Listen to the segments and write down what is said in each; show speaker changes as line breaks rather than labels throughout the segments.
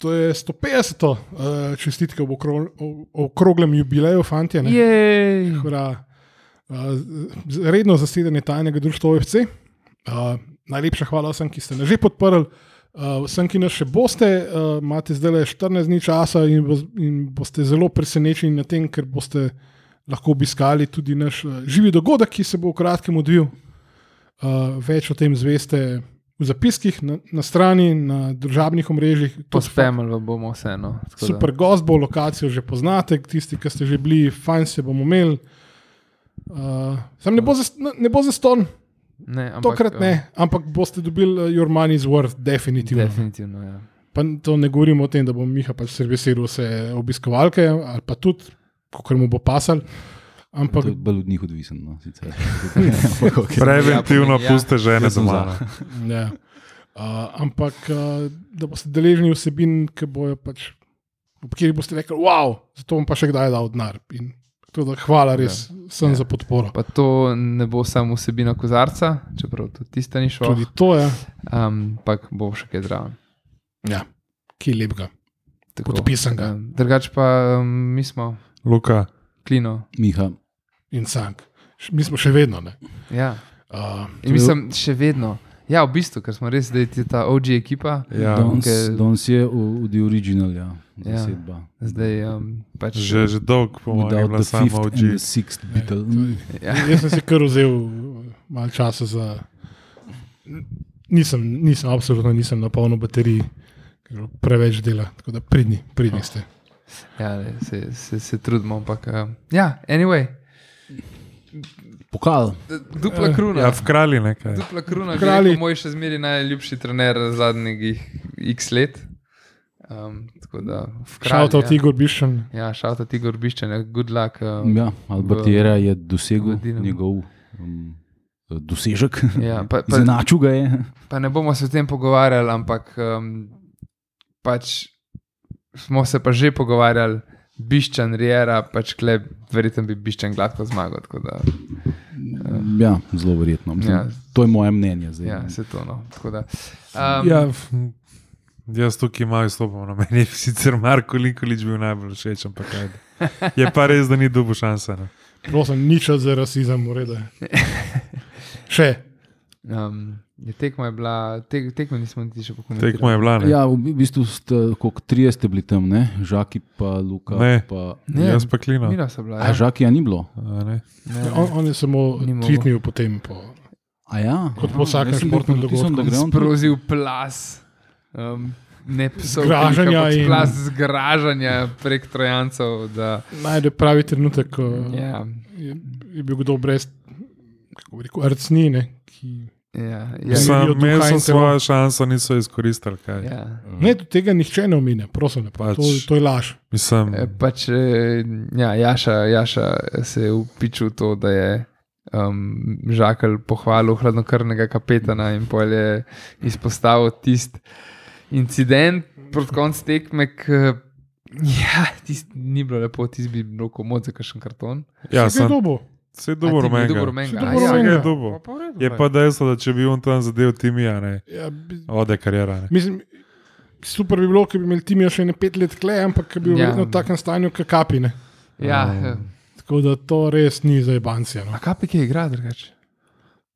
To je 150. Uh, čestitke ob, okrog, ob okroglem jubileju, fanti. ne.
Jej.
Hura, uh, z- redno zasedanje tajnega društva OFC. Uh, najlepša hvala vsem, ki ste nas že podprli, uh, vsem, ki nas še boste. Uh, imate zdaj le 14 dni časa in, bo, in boste zelo presenečeni na tem, ker boste lahko obiskali tudi naš uh, živi dogodek, ki se bo v kratkem odvil. Uh, več o tem zveste v zapiskih na, na strani, na državnih omrežjih. Tudi
Pospemljali bomo vseeno. tako da.
Super gost bo, lokacijo že poznate, tisti, ki ste že bili, fajn se bomo imeli. Uh, sam ne bo, zas, ne- ne bo zaston,
Ne, ampak, eh,
tokrat ne, ampak boste dobili uh, your money's worth, definitivno.
Definitivno. Ja.
Pa to ne govorimo o tem, da bo Miha pač servisiral vse obiskovalke ali pa tudi, kako mu bo pasal.
To je
Ampak
bolj od njih odvisen. No, sicer. Ampak okej.
Preventivno
Ja.
puste žene
Jaz sem
doma.
za.
Ja. Uh, ampak uh, da boste deležni vsebin, ki bojo pač, ob katerih boste rekli, wow, zato bom pa še kdaj dal denar. In tako da Hvala res vsem
Ja.
za podporo.
Pa to ne bo samo vsebina kozarca, čeprav tudi tista ni šla,
Tudi to je,
um, ampak bo še kaj zraven.
ja, ki je lepega.
Tako,
Podpisan ga.
Um, drugač pa um, mi smo
Luka,
klino.
Miha,
In sank. Š- Mi smo še vedno. ne.
Ja.
Uh,
In mislim, še vedno. Ja, v bistvu, ker smo res zdaj ti ta OG ekipa,
ja,
danes
okej.
danes je v The Original, ja,
Ja.
zasedba.
zdaj um, pač
že, že dolgo po mojem je
Without
bila
the
sama
fifth and the
oči.
sixth
ne,
Beatle.
to
Mm.
je-
Ja.
Jaz sem si kar vzel malo časa za. Nisem, nisem, absolutno nisem na polno bateriji, ker preveč dela, tako da pridni, pridni ste.
ja, le, se, se, se trudimo. Ampak, um, ja, anyway,
Pokal.
dupla
Eh,
kruna.
Ja, v kralji nekaj.
Dupla kruna,
Kralji.
kralj. Moj še zmeri najljubši trener zadnjih x let. Um, tako da, v kralju.
Šalta od
ja.
Igor Bišen.
Ja, šalta ti gorbiščene, good luck. Um,
Ja, Albertiera je dosegel
v Dinamu.
njegov um, dosežek.
Ja, pa- pa-
Zanačil ga je.
Pa ne bomo se o tem pogovarjali, ampak um, pač smo se pa že pogovarjali, biščan Riera, pač kle, verjetno bi biščan gladko zmagal. tako Da,
Ja, zelo verjetno. Mislim,
Ja.
To je moje mnenje. Zdaj,
ja, se to no. Tako da, um,
Ja, f- jaz tukaj malo stopim na meni, je sicer Marko Linkolič bil najbolj všeč, ampak ajde. je pa res, da ni dobo šanse. Ne?
Prosim, nič za rasizem, ureda. Še.
um, je tekma je bila, tek, tekmo nismo niti še pokomentirali.
Tekmo je bila. Ne?
Ja, v bistvu ste, koliko trije ste bili tam, ne? Žaki pa Luka.
Ne.
Pa...
Ne,
Jaz pa klino.
Mira so bila.
A
Ja.
Žakija ni bilo.
A ne?
Ne, ne.
On, on je samo
Ni mogel.
tvitnil potem. Po.
A ja?
Kot po vsakem
Jaz sem bil
športnem
pod vtisom,
dogodku.
da gre on tudi-
Sprozil plas. Um, Ne psov,
Zgražanja
klika, pač
in-
Plaz zgražanja prek Trojancev. Da,
Najde pravi trenutek, ko yeah.
ja,
je, je bil kdo brez, kako bi rekel, arcnine. Ki...
ja, ja,
Mislim,
Sam,
Mirijo
Meni so
Duhajncevo.
svojo šanso niso izkoristili. kaj.
ja.
Mhm. Ne, do tega nihče ne omine, prosim, pač.
Pač.
to, to je laž.
Mislim,
E, Pač, e, ja, Jaša, Jaša se je upičil v to, da je um, Žakal pohvalil hladnokrvnega kapetana in pol je izpostavil tisti incident proti koncu tekme. K, ja, tisti ni bilo lepo, tisti bi bilo komod za kakšen karton.
ja,
Kaj je
sem
dobo?
vse
A, ti bi
dobro
bil
menil.
dober menga,
Si
a,
dober
ja.
menga.
Je,
Ja.
dobil.
Pa v redu,
je
pa
pa dejstvo, da če bi on tam zadev timija, ne,
Ja, bi-
ode karijera. Ne.
mislim, super bi bilo, če bi imeli Timijo še ne pet let kle, ampak bi bil
Ja.
ja. vedno v takem stanju, kot kapine.
Ja,
Um,
Tako da to res ni za bancije.
a
No.
kapik je igra drugače.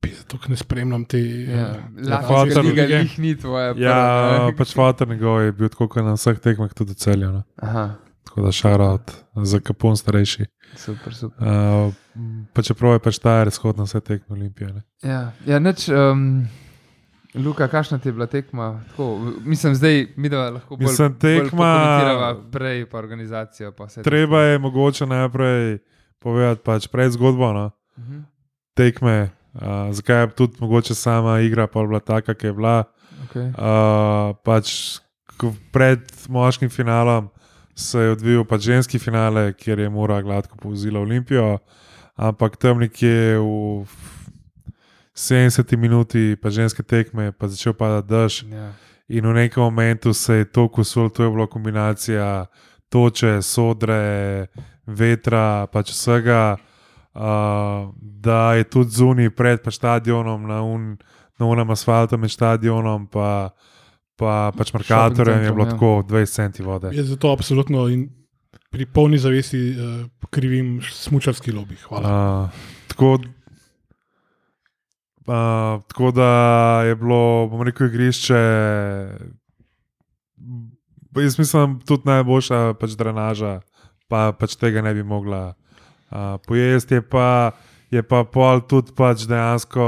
Zato ker ne spremljam te. eh,
Ja,
Hvatar-
Latvijska liga jih ni tvoja. prva,
Ja,
ne.
pač vater njegov je bil tako kot na vseh tekmah tudi celjen. No.
Aha,
Tako da šarat za kapun starejši.
super, super.
Uh, pa čeprav je pač ta razhod na vse tekme olimpije. Ne.
Ja, ja nič, um, Luka, kakšna ti je bila tekma? Tako, mislim, zdaj mi da lahko bolj,
Mislim,
bolj
tekma-
pokomentirava prej, pa organizacijo. Pa vse to.
Treba je mogoče najprej povedati pač pred zgodbo no,
Mhm,
tekme, uh, zakaj je tudi mogoče sama igra pa bila taka, ki je bila.
okej.
Uh, pač k- pred moškim finalom se je odvijal pač ženski finale, kjer je Mura gladko povzila Olimpijo, ampak tam nekje v f- 70 minuti pa ženske tekme pa začel padati dež.
Ja.
In v nekem momentu se je to kusul, to je bila kombinacija toče, sodre, vetra, pač vsega. Uh, da je tudi zunaj, pred pa stadionom, na, un, na unem asfaltu med stadionom, pa pa pač markatorjem je bilo
centrom, ja.
tako 20 centi vode.
Jaz zato absolutno in pri polni zavesti uh, krivim smučarski lobby. Hvala.
Uh, tako, uh, tako da je bilo, bom rekel, igrišče. b- Jaz mislim, tudi najboljša pač drenaža, pa pač tega ne bi mogla uh, pojesti. Je pa, je pa pol tudi pač dejansko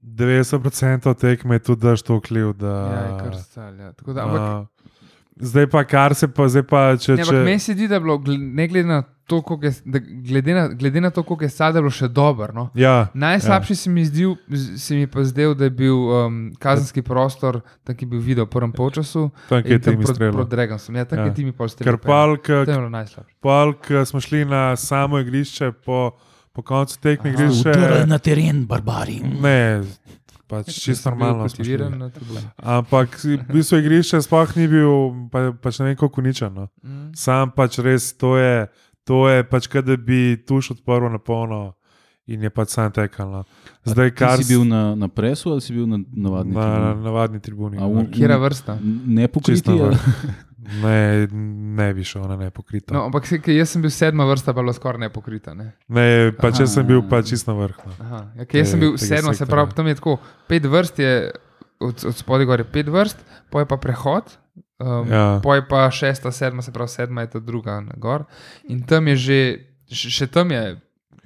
90% tekme tudi daš to vpliv. Da,
Ja, je kar stal. Ja. Tako Da, ampak,
uh, zdaj pa kar se pa, zdaj pa če.
ne,
če-
ampak meni se zdi, da je bilo, gl- ne glede na to, koliko je, da glede na, glede na to, koliko je sad, da je bilo še dobro. No?
ja,
Najslabši ja. se, mi zdil, z- se mi pa zdel, da je bil um, kazenski prostor, tak je bil videl v prvem polčasu.
Ja. tam
in
kje ti
tam
mi
proti-
strelo.
Proti Dragonsom, ja, tam
Ja.
kje ti mi pol strelil.
Ker pol, ke-
To je bilo najslabše.
Pol, ko eh, smo šli na samo igrišče, po, po koncu tekme igrišče.
na teren, barbari.
Ne, pač čisto normalno. smo šli.
Motiviran no. na tribuni.
Ampak si- v bistvu igrišče sploh ni bil, pa, pač ne vem, kako uničeno.
Mm.
Sam pač res to je, to je pač, kaj, da bi tuš odprl na polno in je pač sam tekal. No. Zdaj, kar
Kar si bil na, na presu ali si bil na navadni
na, na
teren?
navadni tribuni.
A
no.
un-
Kjera vrsta?
Ne
Čisto
pokriti.
na
ali-
vrh. Ne, ne bi šel na nepokrito.
No,
No.
ampak se, ke jaz sem bil sedma vrsta, pa je bilo skoraj nepokrita. Ne?
Ne, pač jaz sem
Aha.
bil pač čisto na vrhu. No.
Aha, ja, ke jaz sem
Te-
bil
tega
sedma, se
sektorja.
pravi, tam je tako pet vrst, je od, od spodaj gor je pet vrst, poj pa prehod. Um, ja.
Ja.
Poj pa šesta, sedma, se pravi, sedma je ta druga na gor. In tam je že, še, še tam je.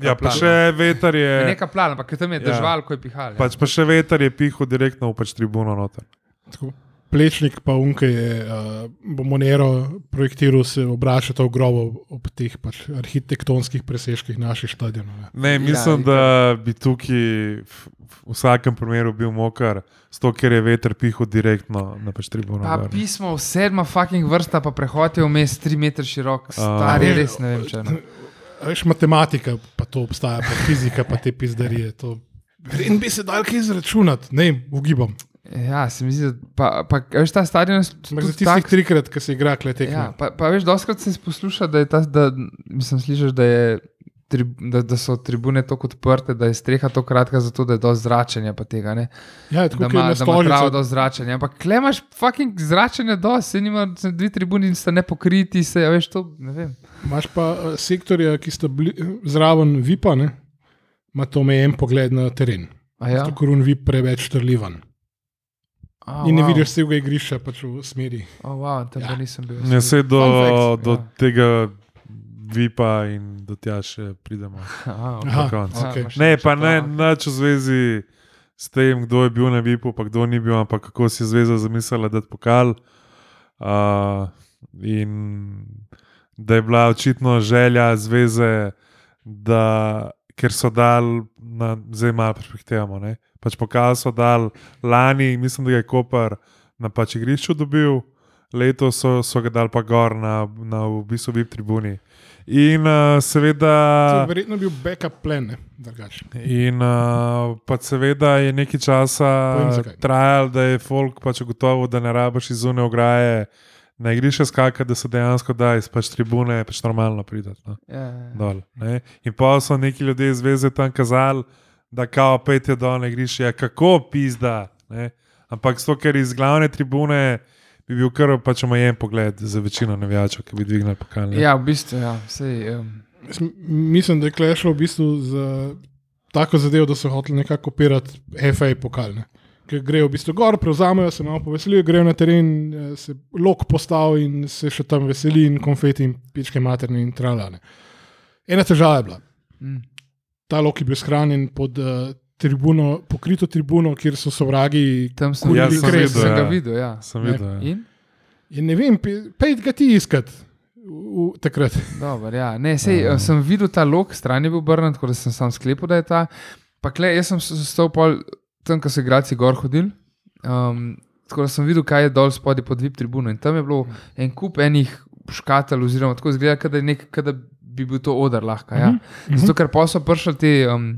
Ja, pa
plan,
še veter je.
no. Neka plan, ampak tam je
Ja.
držal, ko je pihal.
Pač pa še veter je pihal direktno v pač tribuno noter.
Tako, Plečnik pa unke je uh, Monero projektiral, se obračata v grobo ob teh pač, arhitektonskih preseških naših stadionov. ne.
Ne,
Ja, itak.
mislim, da bi tukaj v v vsakem primeru bil mokar, zato ker je veter pihal direktno na pač tribuno.
Pa
gor.
pismo, sedma fucking vrsta, pa prehod je vmes 3 metre širok, star
ja.
je res ne vem če. Ne.
A Veš, matematika, pa to obstaja, pa fizika, pa te pizdarije. To. In bi se dal kaj izračunati, ne vem, ugibam.
Ja, se mi zdi, da pa, pa a veš ta stadion. je
Ampak za
tudi
tistih
tak-
trikrat, ki se igra, kletek.
Ja, pa, pa veš, doskrat se posluša, da, je ta, da, mislim, slišiš, da, je, tri, da, da so tribune tako odprte, da je streha tako kratka, zato da je do zračenja. pa Tega, ne.
ja
da
tako kot
ima
na
prav
stolnici.
do zračenja. Ampak klemaš fucking zračenje, do se nima, dve tribuni sta nepokriti, se ja, veš to. Ne vem.
Imáš pa eh, sektorja, ki sta bili, zraven VIP-a, ne? ima to omejen pogled na teren.
A Ja?
Zato, ker un VIP preveč trlivan.
A,
Oh, in ne
wow.
wow. vidiš vsega igrišča pač v smeri.
Oh, wow, tam ja. nisem bil.
Ja, se do,
Fun fact,
do
ja.
tega vipa in do tja še pridemo.
Aha, ok.
Aha,
koncu.
Aha,
okej.
imaš še
Ne,
še
pa
to,
ne,
aha.
nič v zvezi s tem, kdo je bil na vipu, pa kdo ni bil, ampak kako si je zveza zamislila, da je pokal. Uh, in da je bila očitno želja zveze, da, ker so dal, na, zdaj malo perspektivamo, ne? pač pokal so dal lani, mislim, da ga je Koper na pač igrišču dobil, letos so, so ga dal pa gor na, na v bistvu VIP tribuni. In uh,
To
seveda.
je verjetno bil backup plan, ne? drugače.
Ja.
In uh, pa seveda je nekaj časa
Povem, zakaj.
trajal, da je folk pač gotovo, da ne rabiš iz zune ograje, na igrišče skakati, da se dejansko da iz pač tribune, pač normalno pridati. No,
Ja, ja, ja.
dol, ne. in pa so neki ljudje iz veze tam kazali, da kao pet je dol na igrišče, ja, kako pizda. Ne? Ampak to, ker iz glavne tribune bi bil kar pač omejen pogled za večino navijačev, ki bi dvignili pokalne.
ja, v bistvu, ja, sej, um,
Jaz m- Mislim, da je klej šlo v bistvu za tako zadevo, da so hoteli nekako kopirati FA pokalne. Ker grejo v bistvu gor, prevzamejo se, malo poveselijo, grejo na teren, eh, se lok postavi in se še tam veseli, in konfeti, in pičke materne in tralane. Ena težava je bila.
mm,
Ta lok je bil shranjen pod uh, tribuno, pokrito tribuno, kjer so sovragi.
tam sem,
Kurili
ja,
Ja, sem
sem,
kres.
sem
videl,
ga
ja.
videl. Ja.
Sem
Ne.
videl. ja.
In?
In ne vem, pe- pejt ga ti iskat. V, v, takrat.
Dobar, ja. ne, sej, uh, sem videl ta lok, stran je bil obrnjen, tako da sem sam sklepal, da je ta. Pa kle, jaz sem stal pol tam, ko so igrači gor hodili. Um, tako da sem videl, kaj je dol spodaj pod VIP tribuno. In tam je bilo en kup enih škatel, oziroma tako zgleda, kot da je nek- kot da bi bil to odr lahko. Ja. Zato, ker pa so prišli ti um,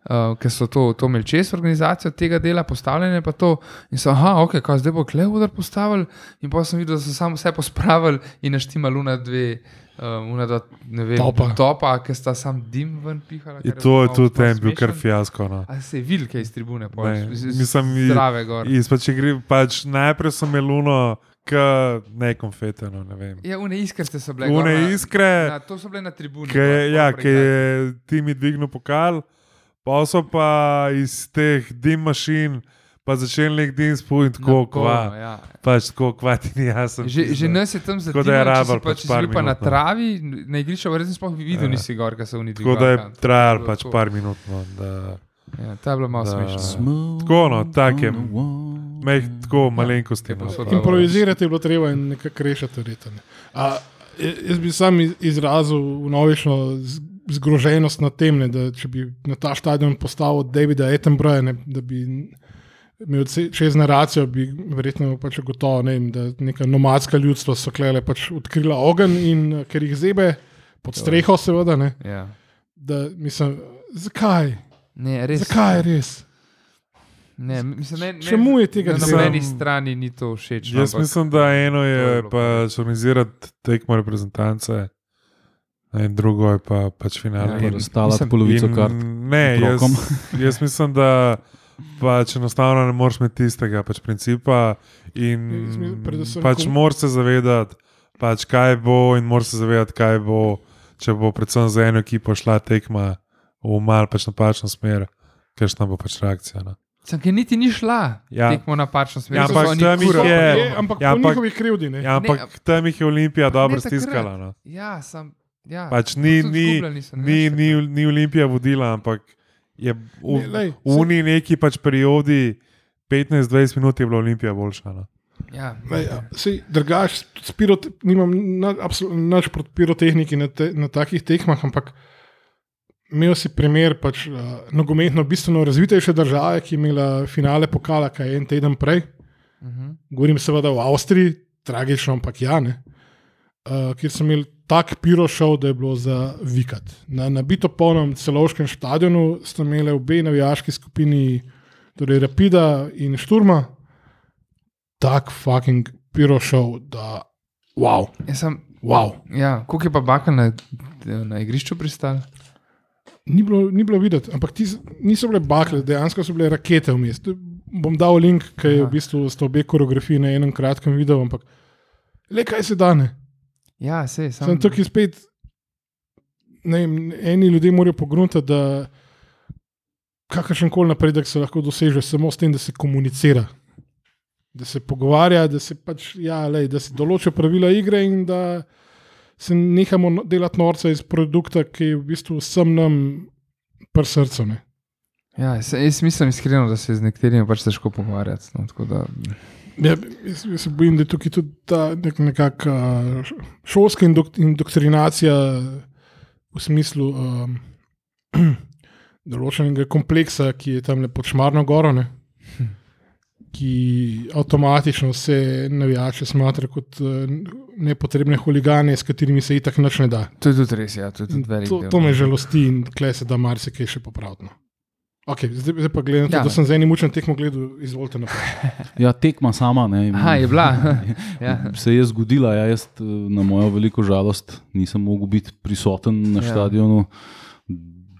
Uh, ker so to, to imeli čez organizacijo tega dela, postavljene pa to. In so, aha, ok, kaj zdaj bo klevudar postavili. In pa sem videl, da so samo vse pospravili in naštima luna dve, um, luna dva, ne vem,
Topa.
topa ker sta sam dim ven pihala.
In
kar Ja, je
to je
malo
tudi
pol
en bil kar
smešen.
fiasko. No.
A se je videl, kaj iz tribune
Ne,
pojdi.
mislim, i-
Zdrave gor.
In pač, če gre, pač najprej sem imel luno, k ne konfeteno, ne vem.
Ja, une iskrste so bile. gor
Une
na-
iskre,
Na, to so bile na tribuni.
ki je, ja, ki je ti mi dvignil pokal, pa so pa iz teh dim mašin, pa začeli nek dim spun, tako kva.
Ja.
Pač tako kva ti ni jasno.
Že, že
pizda.
nas je tam
Tako
zateklo,
da
če
je
si
rabel
pa,
pač
če si
par
bil pa na
minut, no.
travi, na igrišču, verjetno sploh videl,
Ja.
nisi gor, ker so oni
Tako
dvigovali.
da je
tam.
trajal
bilo
pač
tako.
par minut. No, da,
Ja, ta je bila malo
Da.
smešna.
Tako, no, tak je. Meh,
Ja,
tako malenkosti.
Je
no.
posod-
Improvizirati je bilo treba in nekako rešiti verjetno. ne. A, j- Jaz bi sam iz- izrazil vnovično z- zgroženost nad tem, ne, da če bi na ta stadion postavil Davida Attenborougha, ne, da bi imel ce- čez generacijo, bi verjetno pač gotovo, ne, vem, da neka nomadska ljudstva so klele pač odkrila ogenj in eh, ker jih zebe pod streho, seveda, ne,
Ja.
da mislim, zakaj,
Ne, res.
zakaj res?
Ne, mislim, ne, ne,
Čemu je tega
Na
treba?
nobeni strani ni to všeč.
Jaz
no, ampak-
mislim, da eno
To je
je
bilo
pač organizirati tekmo reprezentance, in drugo je pa, pač
Ja,
finale.
in-
In-
Ostala
Mislim,
polovica
in
kart.
Ne, jaz,
otrokom.
jaz mislim, da pač enostavno ne moreš imeti tistega pač principa. In
Ja, Jaz mislim, predvsem
pač
kom-
moraš se zavedati, pač kaj bo, in moraš se zavedati, kaj bo, če bo predvsem za eno ekipo šla tekma v mal pač napačno smer, kakšna bo pač reakcija. No.
Sem, ki niti ni šla,
Ja.
ja. tekmo napačno smer.
Ja,
so
ampak
oni
tam jih
kurali.
je-
Je, ampak
Ja,
ja, po
ampak-
njihovih krivdi. Ne.
Ja, ampak ne, tam jih je Olimpija
Pa ne
dobro
takrat.
stiskala. No.
Ja, sem. Ja.
Pač ni,
Tudi
ni,
izgubljali so, ne
ni,
veš,
ni, ni Olimpija vodila, ampak je v,
Ne, lej,
v uni neki pač periodi 15-20 minut je bila Olimpija boljša. No.
Ja.
Lej, a, Sej, drugač, s pirot- nimam na- absolutno nič proti pirotehniki na, te, na takih tekmah, ampak imel si primer pač, uh, nogometno bistveno razvitejše države, ki je imela finale pokala, kaj en teden prej.
Mhm.
Govorim seveda o Avstriji, tragično, ampak ja, ne. Uh, kjer so imeli tak piro šov, da je bilo za vikat. Na nabito polnem celovškem stadionu sta imeli obe navijaški skupini, torej Rapida in Šturma, tak fucking piro šov, da wow,
Ja, sem,
wow.
ja, koliko je pa baka na, na igrišču pristal?
Ni bilo, ni bilo videti, ampak ti niso bile bakle, dejansko so bile rakete vmes. Tu Bom dal link, ki je v
Aha.
bistvu sta obe koreografiji na enem kratkem videu, ampak le kaj se dane.
Ja, se, sem,
Sem tukaj spet, ne vem, eni ljudje morajo pogruntati, da kakršen koli napredek se lahko doseže samo s tem, da se komunicira. Da se pogovarja, da se pač, ja, lej, da se določijo pravila igre in da se nehamo no- delati norca iz produkta, ki je v bistvu vsem nam pr srcu. Ne.
ja, se, jaz mislim iskreno, da se z nekaterimi pač težko pogovarjati. No, tako da,
Ja, jaz, jaz se bojim, da je tukaj tudi ta nek, nekakšna šolska indok, indoktrinacija v smislu um, določenega kompleksa, ki je tam lepo šmarno goro, ne, ki avtomatično vse navijače smatra kot eh, nepotrebne huligane, s katerimi se itak nič ne da.
to je tudi res, ja, to je
In
tudi velik.
To,
del,
to
no.
me žalosti in kle se da marsikaj še popraviti. no. Okay, zdaj, zdaj pa gledam, ja.
Ja.
da sem z enim učem tekmo gledal, izvolite no. naprej.
Ja, tekma sama. Ne, in-
Aha, je bila. ja.
Se je zgodila, ja, jaz eh, na mojo veliko žalost nisem mogel biti prisoten na
Ja.
ja. stadionu,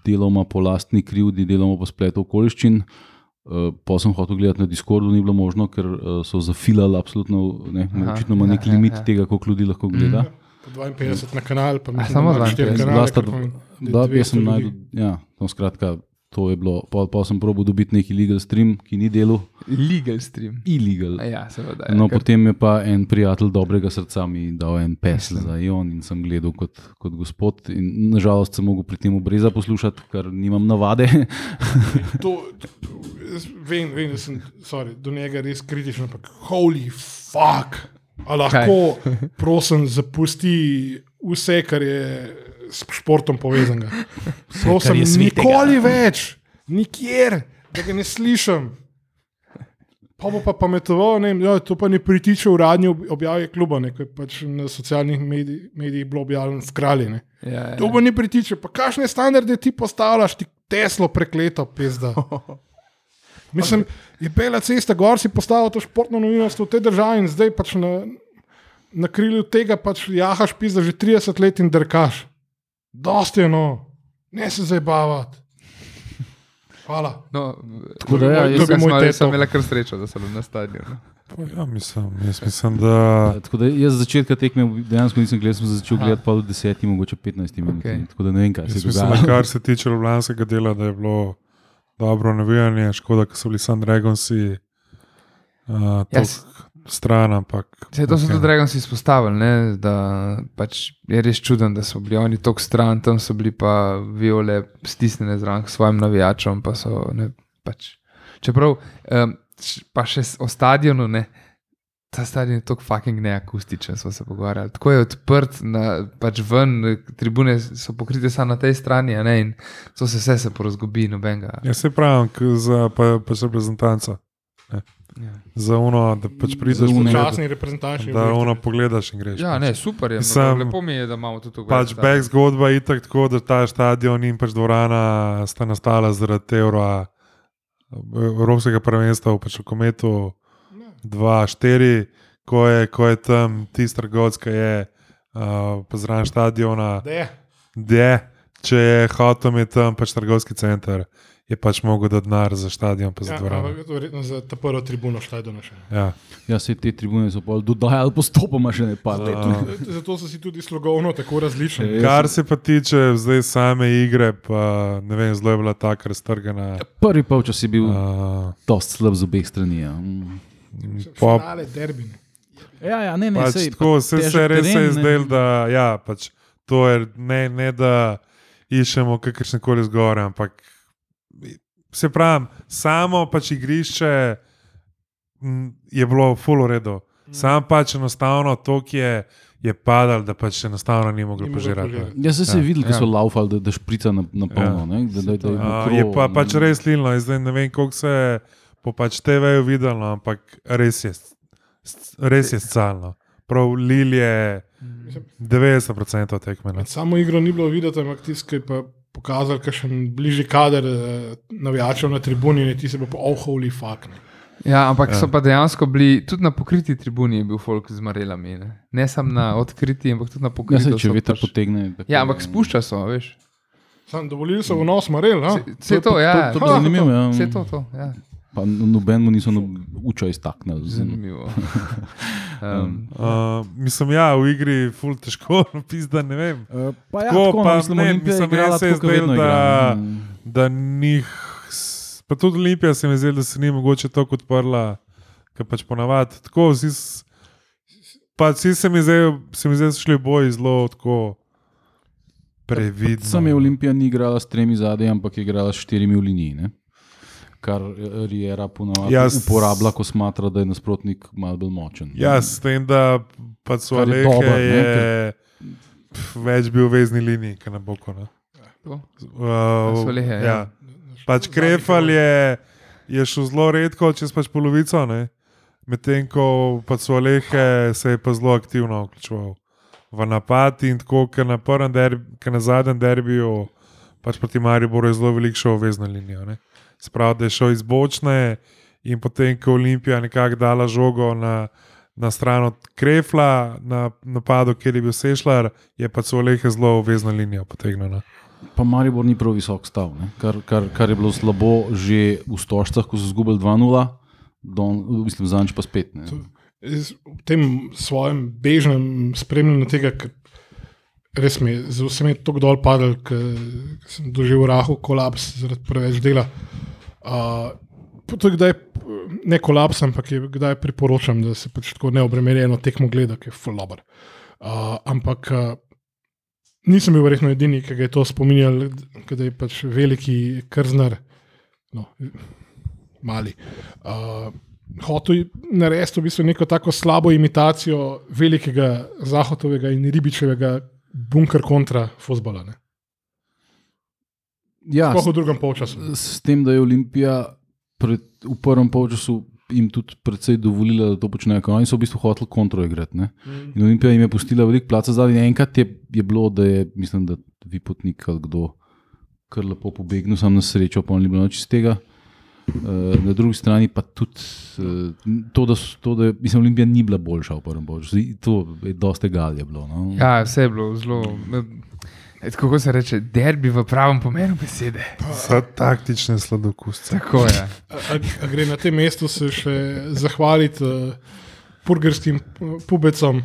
deloma po lastni krivdi, deloma po spletu okoliščin. Eh, Pa sem hotel gledati na Discordu, ni bilo možno, ker eh, so zafilali absolutno, ne,
Aha,
očitno ima
ja,
nek
ja,
limit
ja.
tega, koliko ljudi lahko gleda. Mm.
Po 52 na kanal, pa mislim,
samo
da imaš
52.
štiri
Bila
kanale,
sta
kar
dva-
pomeni, da je
Da,
200
jaz sem
ljudi.
najdel, ja, no, skratka, to je bilo. Pa, pa sem probil dobiti neki legal stream, ki ni delal,
Legal stream.
illegal.
A Ja, seveda. Ja,
No,
ker-
potem je pa en prijatelj dobrega srca mi dal en pes za Ion in sem gledal kot, kot gospod. In, nažalost sem mogel pri tem obreza poslušati, ker nimam navade.
To, jaz vem, vem, da sem sorry, do njega res kritičen, ampak holy fuck. A lahko, prosim, zapusti vse, kar je s športom povezanega. Prosim,
je svetega.
nikoli več, nikjer, da ga ne slišim. Pa bo pa pametoval, ne, jo, to pa ne pritiče uradni ob- objavi kluba, ne, ko je pač na socialnih medij, medijih bilo objavljeno v kralji. Ne.
ja, ja.
To bo ni pritiče. Pa kakšne standarde ti postavljaš, ti Teslo prekleto, pizda. Mislim, je bela cesta, gor si postavil to športno novinarstvo v tej državi in zdaj pač na, na krilju tega pač jahaš pizda že 30 let in drkaš. Dosti je no, ne se zabavati. Hvala.
No,
Tako da, ja,
jaz-
jaz sem
moj
imel- jaz sem
teto.
imela kar srečo, da sem bila na stadionu.
Pa Ja, mislim, jaz mislim, da
Tako da jaz začetka tekme dejansko nisem gledal, sem začel
Aha.
gledati pa do 10, mogoče 15 minut.
Okej.
Tako da ne vem, kaj se
jaz
je
mislim, da
dogajalo.
kar se tiče ljubljanskega dela, da je bilo dobro navijanje, škoda, ker so bili sam Dragonsi. Uh,
Jaz-
Stran, ampak.
Se, to so
okej.
tudi Dragons izpostavili, ne? da pač je res čudno, da so bili oni tok stran, tam so bili pa viole stisnjene zraven k svojim navijačem. pa So, ne, pač. Čeprav um, pa še s- o stadionu ne. Ta stadion je tako fucking neakustičen, smo se pogovarjali. Tako je odprt, na, pač ven, tribune so pokrite samo na tej strani, a ne, in to se vse se porazgubi, nobenega.
Jaz se Ja, pravim, k- za pa, pač reprezentanca. Ne.
Ja.
Za uno, da pač prideš
une.
pogledat,
Časni reprezentanti.
Da uno pogledaš in greš.
Ja, ne, super je. no,
Mislim,
lepo mi je, da imamo tudi to.
Pač back zgodba je itak tako, da ta stadion in pač dvorana sta nastala zaradi evra, Evropskega prvenstva v pač v kometu
Ja.
2-4, ko, je- ko je tam tisti trgovec, ki je uh, pozran stadiona,
Da je.
je, če je hotel, je tam pač trgovski center, je pač mogel dati denar za stadion, pa za
Ja,
dvorano.
ampak verjetno za ta prvo tribuno šla do naše.
Ja.
Ja, se te tribune so pa dodajali postopoma še ne pa.
Zato so si tudi slogovno tako različni.
Jaz
Kar se pa tiče zdaj same igre, pa ne vem, zelo je bila ta kar strgana.
Prvi polčas je bil
Ja.
Uh,
dosti slab z obeh strani. Ja, Mm.
pop,
Finale derbine.
ja, ja ne, ne,
pač
sej,
tako, vse se res je zdel, da ja, pač, to je ne, ne da iščemo kakršne koli zgore, ampak se pravi, samo pač igrišče m, je bilo full uredo. Sam pač enostavno to, ki je, je padal, da pač enostavno ni mogel
Ni mogel
požirati.
požirati.
Ja, saj se je
Ja,
videl, da
ja.
so laufali, da, da šprica na, na polno. Ja. Ne, da, da, da je
A,
mokro,
je pa
ne.
pač res lilno, zdaj ne vem, koliko se je po pač TV-ju videlo, ampak res je, s- s- res je scalno. Prav lil je 90% tekme. no.
Med samo igro ni bilo videti, ampak tiskaj pa pokazal, ker še bližji kader eh, navijačev na tribuni, ne ti se bo pa oh, holy fuck. Ne.
Ja, ampak ja. so pa dejansko bili, tudi na pokriti tribuni je bil folk z marelami. Ne, ne samo na odkriti, ampak tudi na
Ja,
pokriti.
sej, če veter
pač-
potegne. tako
Ja, ampak
je,
spušča so, veš.
Sam dovolili so vnos marel, no. a?
Se- Se to,
pa-
ja.
No, to- to bo zanimivo, ja.
Se to, to, ja.
Pa noben mu niso nob- učo iztaknili.
Zanimivo. Um,
Uh, mislim, ja, v igri je ful težko, pizda, ne vem.
Uh, pa ja,
Tako,
tako,
pa
pa, mislim,
ne,
ne, Olimpija je
mislim,
igrala
meni se je
tako, kot
zdelo,
vedno
da-
igra.
Da njih, s- pa tudi Olimpija se mi zdi, da se ni mogoče tako odprla, ker pač ponavadi. Tako, vsi, s- pač vsi se mi zdi, se mi zdi, da so šli boji zelo tako previdno.
Sam je Olimpija ni igrala s tremi zadaj, ampak je igrala s štirimi v liniji. Ne? Kar eh, Riera ponavadi
Ja, s-
uporablja, ko smatra, da je nasprotnik malo bolj močen.
Ja, s tem, da pa so
Kar je
Alehe
dobro, ne,
je pf, več bil v vezni liniji, kot na boku. ne.
to.
Uh,
so Lehe, ja.
ja. Pač Krefal je, je šel zelo redko, čez pač polovico, ne. medtem ko pač so Alehe se je pa zelo aktivno vključeval v napad in tako, ker na, prvem derbi- ker na zadnjem derbiju pač proti Mariboru je zelo velik šel v vezno linijo. Ne. Sprav, da je šel iz bočne in potem, ko je Olimpija nekako dala žogo na, na stran od Krefla, na napadu, kjer je bil Sešljar, je pa so Lehe zelo vezno linijo potegnjena.
Pa Maribor ni prav visok stav, ne? kar, kar, kar je bilo slabo že v Stožcah, ko so izgubili 2-0, don- mislim, zanč pa spet. Ne?
Jaz v tem svojem bežnem spremljanju tega, ker res mi je z vsemi tako dol padel, ker sem doživel rahu kolaps zaradi preveč dela. Uh, Tudi kdaj, ne kolaps, ampak je, kdaj priporočam, da se pač tako neobremenjeno tekmo gleda, ki je fulobar. Uh, ampak uh, nisem bil verjetno edini, ki ga je to spominjal, da je pač veliki krznar, no, mali. Uh, hotel je narediti v bistvu neko tako slabo imitacijo velikega Zahotovega in Ribičevega bunker kontra fusbola.
Ja,
Sploh v drugem polčasu.
s tem, da je Olimpija pred, v prvem polčasu jim tudi precej dovolila, da to počnejo, ker oni so v bistvu hoteli kontro igrati. ne. In Olimpija jim je pustila veliko placa zadaj. Enkrat je, je bilo, da je, mislim, da Vipotnik ali kdo kar lepo pobegnil, sam na srečo, pa ni bilo nič iz tega. Uh, na drugi strani pa tudi uh, to, da, so- to, da mislim, Olimpija ni bila boljša v prvem boju. To je dosti galje bilo. No?
Ja, vse je bilo zelo. eh, Kako se reče, derbi v pravem pomenu besede.
Za taktične sladokusce.
Tako je.
A, a, a gre na tem mestu se še zahvaliti uh, burgerskim eh, pubecom,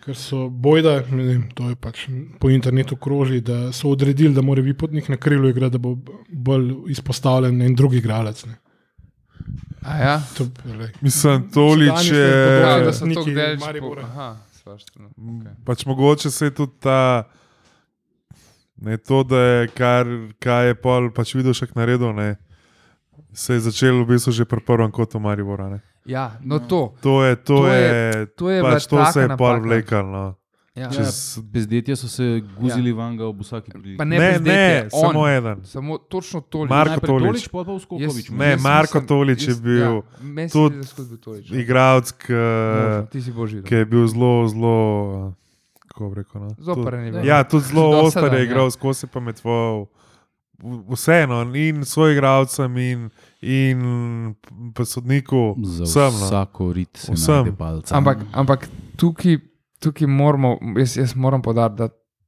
ker so bojda, ne vem, to je pač po internetu kroži, da so odredili, da mora Vipotnik na krilu igrati, da bo bolj izpostavljen en drugi igralec. ne.
A ja?
To, glej.
Mislim, tolič je.
Ja,
Eh,
da so to
Niki
gledali.
Maribora.
Aha, svašta. no,
Mm.
okej.
Pač mogoče se je tudi ta. Ne, to, da je kar, kaj je pol, pač videl še naredil, ne, se je začelo v bistvu že pri prvem kotu Maribora. Ne.
Ja, no to.
To je,
To
to, to
je-
je,
to je bila
pač to
taka
se je pol
napaka.
vlekalo. No.
Ja.
Čez,
Bezdetje so se guzili ja. vanga ob vsaki priliki.
Pa
ne,
ne,
ne,
bezdetje,
ne
on.
samo eden.
Samo točno toliko.
Marko
Najprej
Tolič.
Tolič,
pa pa v Skopovič.
jaz-
Ne,
jaz
Marko
nisem-
Tolič je
jaz-
bil
Ja, meni se
tudi
zdi, da je bil Tolič.
ja. Igravc, ki
Možno, Ti si božji.
ki je bil zelo, zelo. Kako bi rekel? No,
Zoparen je bil.
tudi- Ja, tudi zelo
Dosedan,
ostar je
ja.
igral, skozi pa metval. Vseeno, in svojim igralcem, in, in pa sodniku,
Za
vsem. No.
vsako rit se
Vsem.
najde palca.
Ampak, ampak tukaj, tukaj moramo, jaz, jaz moram podariti, da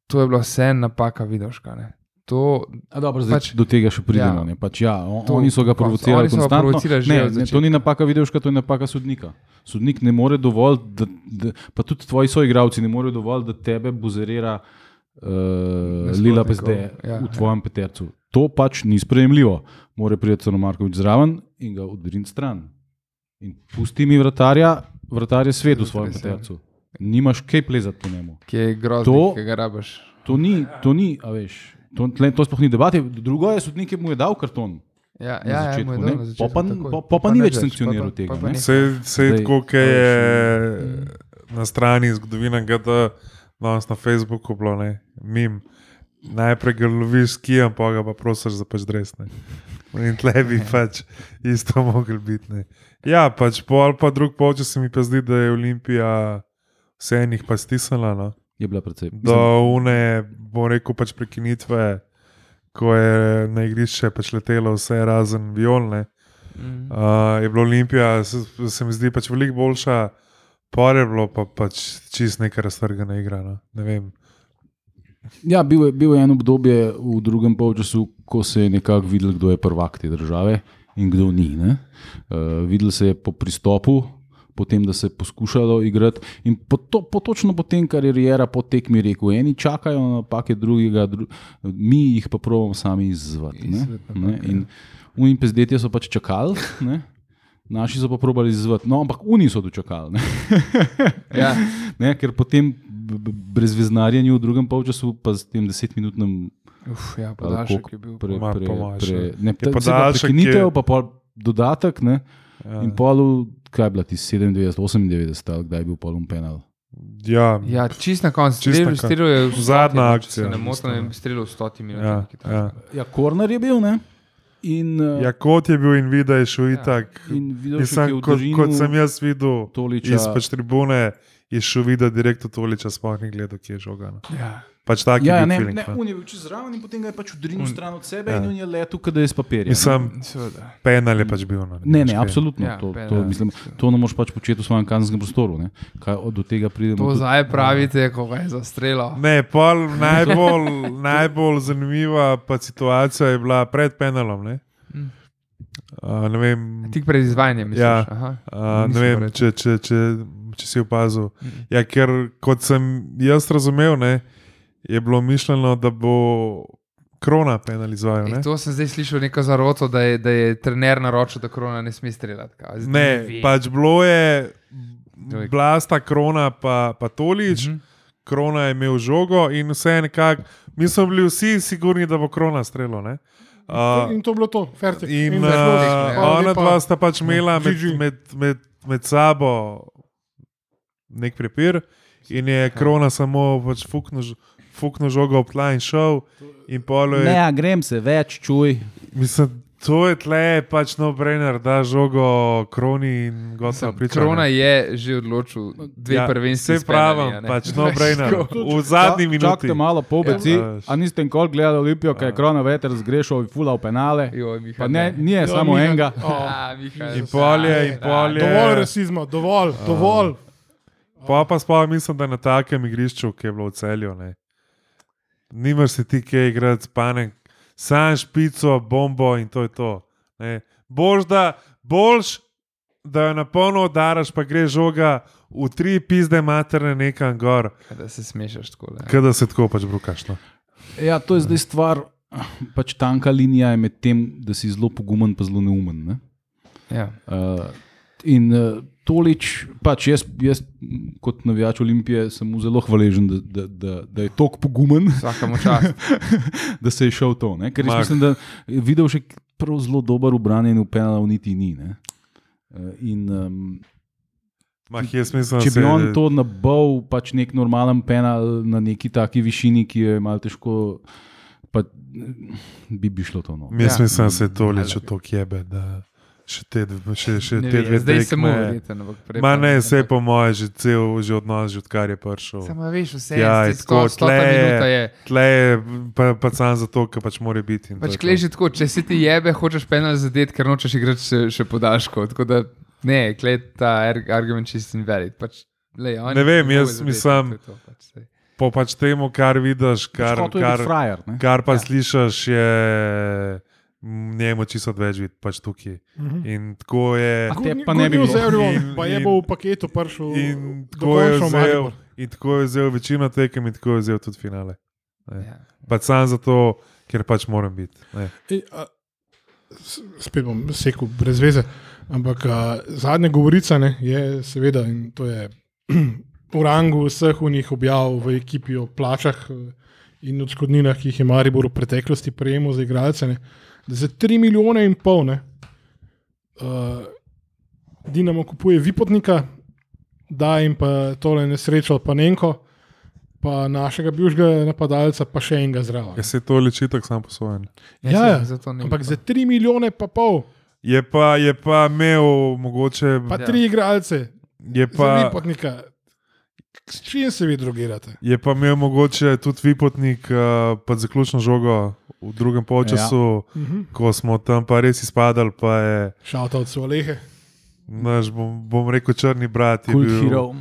to je bila vse napaka vidoška. ne. To,
A dobro, zdaj,
Pač-
pač, do tega še pridemo.
Ja.
Ja, pač, ja, on,
To-
to, oni so ga
konc-
provocirali.
oni so ga
konstantno.
provocirali že
ne,
od
ne, to ni napaka videoška, to je napaka sodnika. Sodnik ne more dovolj, da, da, pa tudi tvoji soigravci ne morejo dovolj, da tebe buzerira uh, Lila Pezde
Ja,
ja,
ja.
v tvojem ja. petercu. To pač ni sprejemljivo. More priti Crno Markovič zraven in ga odriniti stran. In pusti mi vratarja, vratar je svet v svojem
Res je.
petercu. Nimaš kaj plezati po njemu.
ki je grozno,
To-
ki ga rabiš.
To ni, to ni, a veš. To, tle- to sploh ni debate. Drugo je sodnik, ki mu je dal karton.
Ja,
Na
ja,
začetku,
ja, mu je
ne.
dal na
Po
začetku
pa-
takoj.
po- po pa ni
ne
več
želiš,
sankcioniral
pa- pa-
tega,
pa pa
ne.
ne.
Vse je
Zdaj,
tako, kot je na strani zgodovina GD, danes na Facebooku bilo, ne, mim. Najprej ga loviš s kijem, pa ga pa prosiš za pač dresne. In tle bi pač isto mogel biti. Ne. Ja, pač pol pa drug polčas se mi pa zdi, da je Olimpija vse enih pa stisnila. No.
Je bila precej.
Do une, bom rekel, pač prekinitve, ko je na igrišče pač letelo vse razen violne.
Mhm.
Uh, je bila Olimpija, se, se mi zdi pač veliko boljša, par je bilo pa pač čist neka raztrgana igra. No? Ne vem.
Ja, bil je, bil je eno obdobje v drugem polčasu, ko se je nekako videl, kdo je prvak te države in kdo ni. Uh, videl se je po pristopu, potem, da se je poskušalo igrati. In po to, po točno po tem, kar je Rijera po tekmi rekel, eni čakajo na napake drugega, dru, mi jih pa pravimo sami izzvati. ne,
Izzvati
ne, In oni pezdetje so pač čakali. Ne? Naši so pa probali izzvati, no, ampak oni so dočakali. ne.
Ja,
Ne, ker potem b- b- brez veznarjenja v drugem polčasu, pa s tem desetminutnem
Uf, ja,
ali
podaljšek
koliko,
je bil.
pre,
Ma,
pre,
po moje še.
pre, ne, ta-
Je
se
podaljšek,
pa prekinitev,
je-
pa pol dodatek. Ne,
Ja,
in pol, v- kaj je bila ti 97, 98, ali kdaj je bil polum penal.
ja, ja.
Ja, čist na koncu,
Čist na
strelil,
koncu.
strelil je v
Zadnja
stotih,
akcija,
Če se ne motim,
mislim,
je strelil v 100
ja,
minutah.
ja.
Ja, korner je bil. Ne, in, eh,
ja kot je bil in videl, je šel itak.
Ja. in videl si,
Mislim, kot, kot sem jaz videl,
Toliča.
iz pač tribune je šel videti direktno Toliča, sploh ni gledal, kje je žogan.
Ja.
Pač tak
Ja,
je
ne,
bil
ne,
feeling. no.
on je bil čez zraven in potem ga je pač odrinil
Un-
stran od sebe ja.
ja.
in on je letel, kot da je iz papirja. ne.
Mislim,
Seveda.
penal je pač bil. No,
Ne, ne,
pač
absolutno.
Ja,
Ja, to,
penal.
to, mislim, to ne moreš pač početi v svojem kazenskem prostoru. ne. Kaj, od- do tega pridemo.
To
tudi-
zdaj pravite, ko ga je zastrelo.
Ne, pol najbolj, najbolj zanimiva pa situacija je bila pred penalom. Ne,
Mm.
uh, ne vem,
Tik pred izvajanjem, misliš?
Ja.
Aha.
uh, ne
Nisem
vem
verjetno.
če, če, če, če si opazil.
Mhm.
Ja, ker kot sem jaz razumel, ne, je bilo mišljeno, da bo krona penaliziral.
E, to sem zdaj slišal neko zaroto, da je, da je trener naročil, da korona ne sme streljati. kaj. Zdaj
Ne,
ve.
pač bilo je.
Dojk.
Blasta, krona, pa, pa tolič,
Mhm.
krona je imel žogo in vse je nekako, mi smo bili vsi sigurni, da bo krona streljal. ne. Uh,
In to je bilo to, fertik.
In uh,
Fertik, ja.
ona dva sta pač imela med,
GG.
med, med, med sabo nek prepir, in je krona samo pač fuknil ž- fuknil žogo ob tla in šel. In polo je,
grem se ja, več, čuj.
mislim, To je tle, pač no brainer, da žogo kroni in gosta priča. ne.
Krona je že odločil, dve ja, prvenstvi.
Saj pravim, pač no brainer. V zadnji minuti.
Čakajte malo po beci,
Ja.
a niste nikoli gledali Olimpijo, kaj je krona veter zgrešil in fulal penale.
Ja.
Jo, Miha,
Pa ne, nije samo
Miha-
enega.
O,
A, Miha,
In polje, in polje.
Ja.
Dovolj rasizma, dovolj, dovolj.
Pa pa sploh mislim, da na takem igrišču, ki je bilo v celju, ne. nimaš se ti kje igrati, panek, sam špico, bombo in to je to. Ne. Boš da, boš, da jo na polno udaraš, pa gre žoga v tri pizde materne nekam gor,
Da se smešaš tako. ne.
kada se tako pač brukaš. No.
Ja, to je zdaj stvar, pač tanka linija je med tem, da si zelo pogumen, pa zelo neumen. Ne?
Ja.
Uh, in uh, tolič, pač jaz, jaz m, kot navijač Olimpije sem mu zelo hvaležen, da, da, da, da je tako pogumen,
Vsakemu času.
da se je šel to. Ne? Ker jaz
Mak.
mislim, da je videl še prav zelo dober ubranjen v penal, niti ni. Ne? Eh, In, um,
Mah, jaz mislim, da
če bi
se-
on to nabal, pač nek normalen penal na neki taki višini, ki je malo težko, pa eh, bi, bi šlo to no. noč.
Jaz
Ja.
mislim, da se je to leče tako jebe, da še te, dv- še, še
Ne
te
vem,
dve
Zdaj se mu
tekme-
verjete, ampak prej.
Ma
pa
ne,
ampak-
vse po moje, že cel že odnos, že odkar je prišel.
Samo veš, vse
Ja,
je
je tako,
tako, stota
tle je-
minuta je.
Tle je pa, pa sam zato, ker pač mora biti. in to
Pač
je to.
kleži tako, če si ti jebe, hočeš penal zadeti, ker nočeš igrati še, še podaljškov. Tako da ne, klej ta ar- argument čist invalid. Pač, lej, oni
Ne vem,
bojo
jaz
zadeti,
mislim-
to je to, pač, saj.
Po pač temu, kar vidiš, kar,
Kot Pač je
kar,
frajer. ne.
kar pa ja. slišiš, je m, njemu čisto več videti, pač tukaj.
Mhm.
In tako je.
A te pa ne bi bilo.
vzel,
In-
pa je
in-
bo v paketu prišel.
In tako je,
dokončno v
vzel,
Maribor.
in tako je vzel večino tekem, in tako je vzel tudi finale.
Ja.
Pač sam zato, ker pač moram biti. ne.
Ej, E, a, s- Spet bom rekel, brez veze. Ampak a, zadnja govorica ne, je, seveda, in to je v rangu vseh unih objav v ekipi o plačah eh, in odškodninah, ki jih je Maribor v preteklosti prejemal za igralce. Ne, da za 3 milijone in pol ne, uh, Dinamo kupuje Vipotnika, da jim pa tole nesrečo, pa Nenko, pa našega bivšega napadalca, pa še enega zraven.
Ker se to leči tako sam po svojem.
Ja, ja.
saj, zato ne.
Ampak za 3 milijone pa pol,
Je pa, je pa imel mogoče.
pa
Ja.
ja. tri igralce,
Je
pa
pa,
potnika. S čim se vi drugirate?
Je pa imel mogoče tudi Vipotnik uh, pod zaključno žogo v drugem polčasu, ja.
Mhm.
ko smo tam pa res izpadali, pa je
Šalta od Solehe.
naš, bom, bom rekel, črni brat. je
Kult
bil-
hero.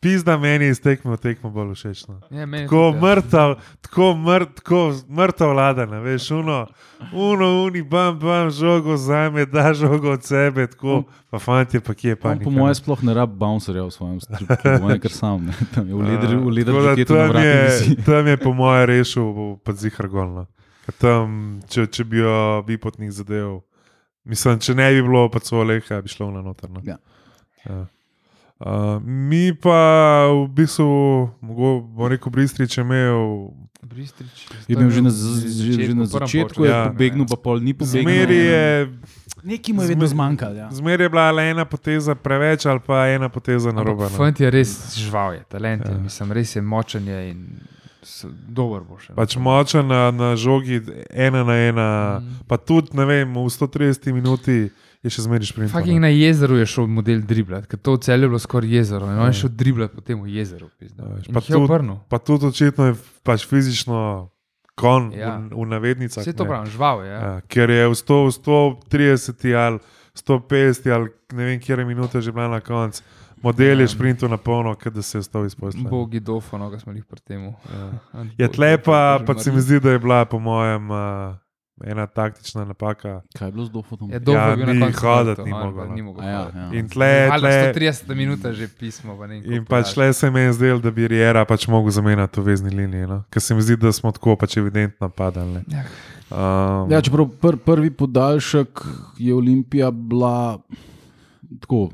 Pizda meni je iz tekme, v tekmo bolj všeč. no.
Ja, meni tudi,
Tako
ja.
mrtav, tako mrt, tako mrtav vladan, veš, uno, uno, uni, bam, bam, žogo za me, da žogo od sebe, tako, pa fanti, pa kje pa.
On, po mojem, sploh ne rabi bouncerja v svojem stripu, ne kar sam, ne. tam je v lederju, v
Ja. Tako da
lederju, ki je tam
tam, je,
vrati.
tam je, po mojem, rešil zihar golno. Ker Tam, če, če bi jo Vipotnik zadev, mislim, če ne bi bilo pač oleha, bi šlo na notrno.
Ja.
Ja. Uh, mi pa v bistvu, mogo- bom rekel, Bistrič je imel,
Bristrič,
Je bil že na, z- že, že na začetku, je
Ja.
pobegnil, pa pol ni pobegnil.
zmeri je,
Nekaj mu je vedno
zmer-
zmanjkalo. Ja.
zmer je bila le ena poteza preveč ali pa ena poteza na robe.
Fant je res žival, je talent, je,
no. Ja.
mislim, res je močen je in s- dober bo še.
Pač močen na, na žogi, ena na ena, mm. pa tudi, ne vem, v 130 minuti je no. še zmeriš pri
Fucking na jezeru je šel model driblat, ker to v celju je bilo skoraj jezero. In on je šel driblat po tem jezeru. pizda.
Ja, veš,
In
pa
jih je
tudi-
obrnil.
Pa tudi očitno je pač fizično kon
Ja.
ja. v, v navednicah.
Vse to
ne.
pravim, žval je. Ja.
Ja, ker je v 100, v 130 ali 150 ali ne vem, kje je minuta že bila na koncu.
Ja.
Model je šprintu na polno, kot da se je stal izpostavljen.
Bogi dofono, ki smo jih pri tem. Ja.
Je tle pa, pa se mi zdi, da je bila po mojem uh, ena taktična napaka.
Kaj je bilo z dofotom?
Ja, dobro,
Ja,
je bil na
ni
koncu
hoditi,
hodil,
ni
on
mogel,
pa
no.
Ni mogel.
A ja,
hoditi.
ja.
In tle,
Hvala,
tle,
130 minut že pismo. pa ne vem,
In
koliko
pač
podaljška.
le se mi je zdelo, da bi Riera pač mogel zamenjati v vezni liniji, no? ker se mi zdi, da smo tako pač evidentno padali. ne.
Ja.
Um,
Ja, čeprav pr, prvi podaljšek je Olimpija bila tako,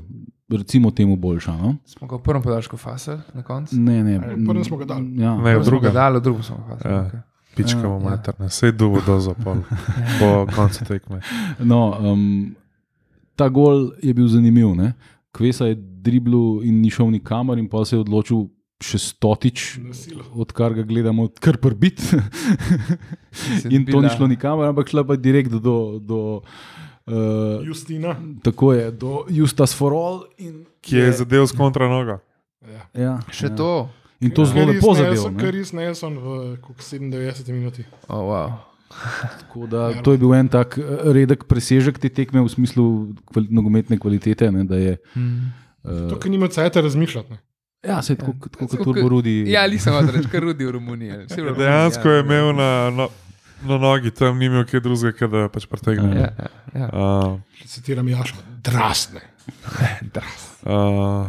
recimo temu boljša. No?
Smo ga v prvem podaljšku fasali na koncu.
Ne, ne.
Ali prvem smo ga dali.
Ja.
ne,
Prvo smo
druga,
ga Dali, drugo smo ga
Ja.
fasali.
pička bo materna, se je duvo do zapol po koncu tekme.
No, um, ta gol je bil zanimiv. Ne? Kvesa je driblu in ni šel nikamor, in pa se je odločil še stotič, odkar ga gledamo, kar prbit. In to ni šlo nikamor, ampak šla pa direkt do. do uh,
Justina. Ja.
Tako je, do Justas Forol. In,
ki je zadev s kontra noga.
ja,
Še
ja.
to.
In to zelo lepo zadevo. ne.
Kar res Nelson v koliko, 97 minuti.
Ja.
Oh, wow.
Tako Da, to je bil en tak eh, redek presežek te tekme v smislu kvali, nogometne kvalitete. Ne, da je,
mm.
uh,
Tukaj nima cajta razmišljati. ne.
ja, se tako, ja. tako
Tako
kot
kot-
Turbo Rudi.
Ja, nisem hotel reči, kar rudi v Romuniji. Saj v Romuniji,
Dejansko
ja.
je imel na, no, na nogi, tam ni imel kaj drugega, kot da jo pač pretegne.
Ja, ja, ja.
Uh,
Če citiram Jaša, drasne.
uh,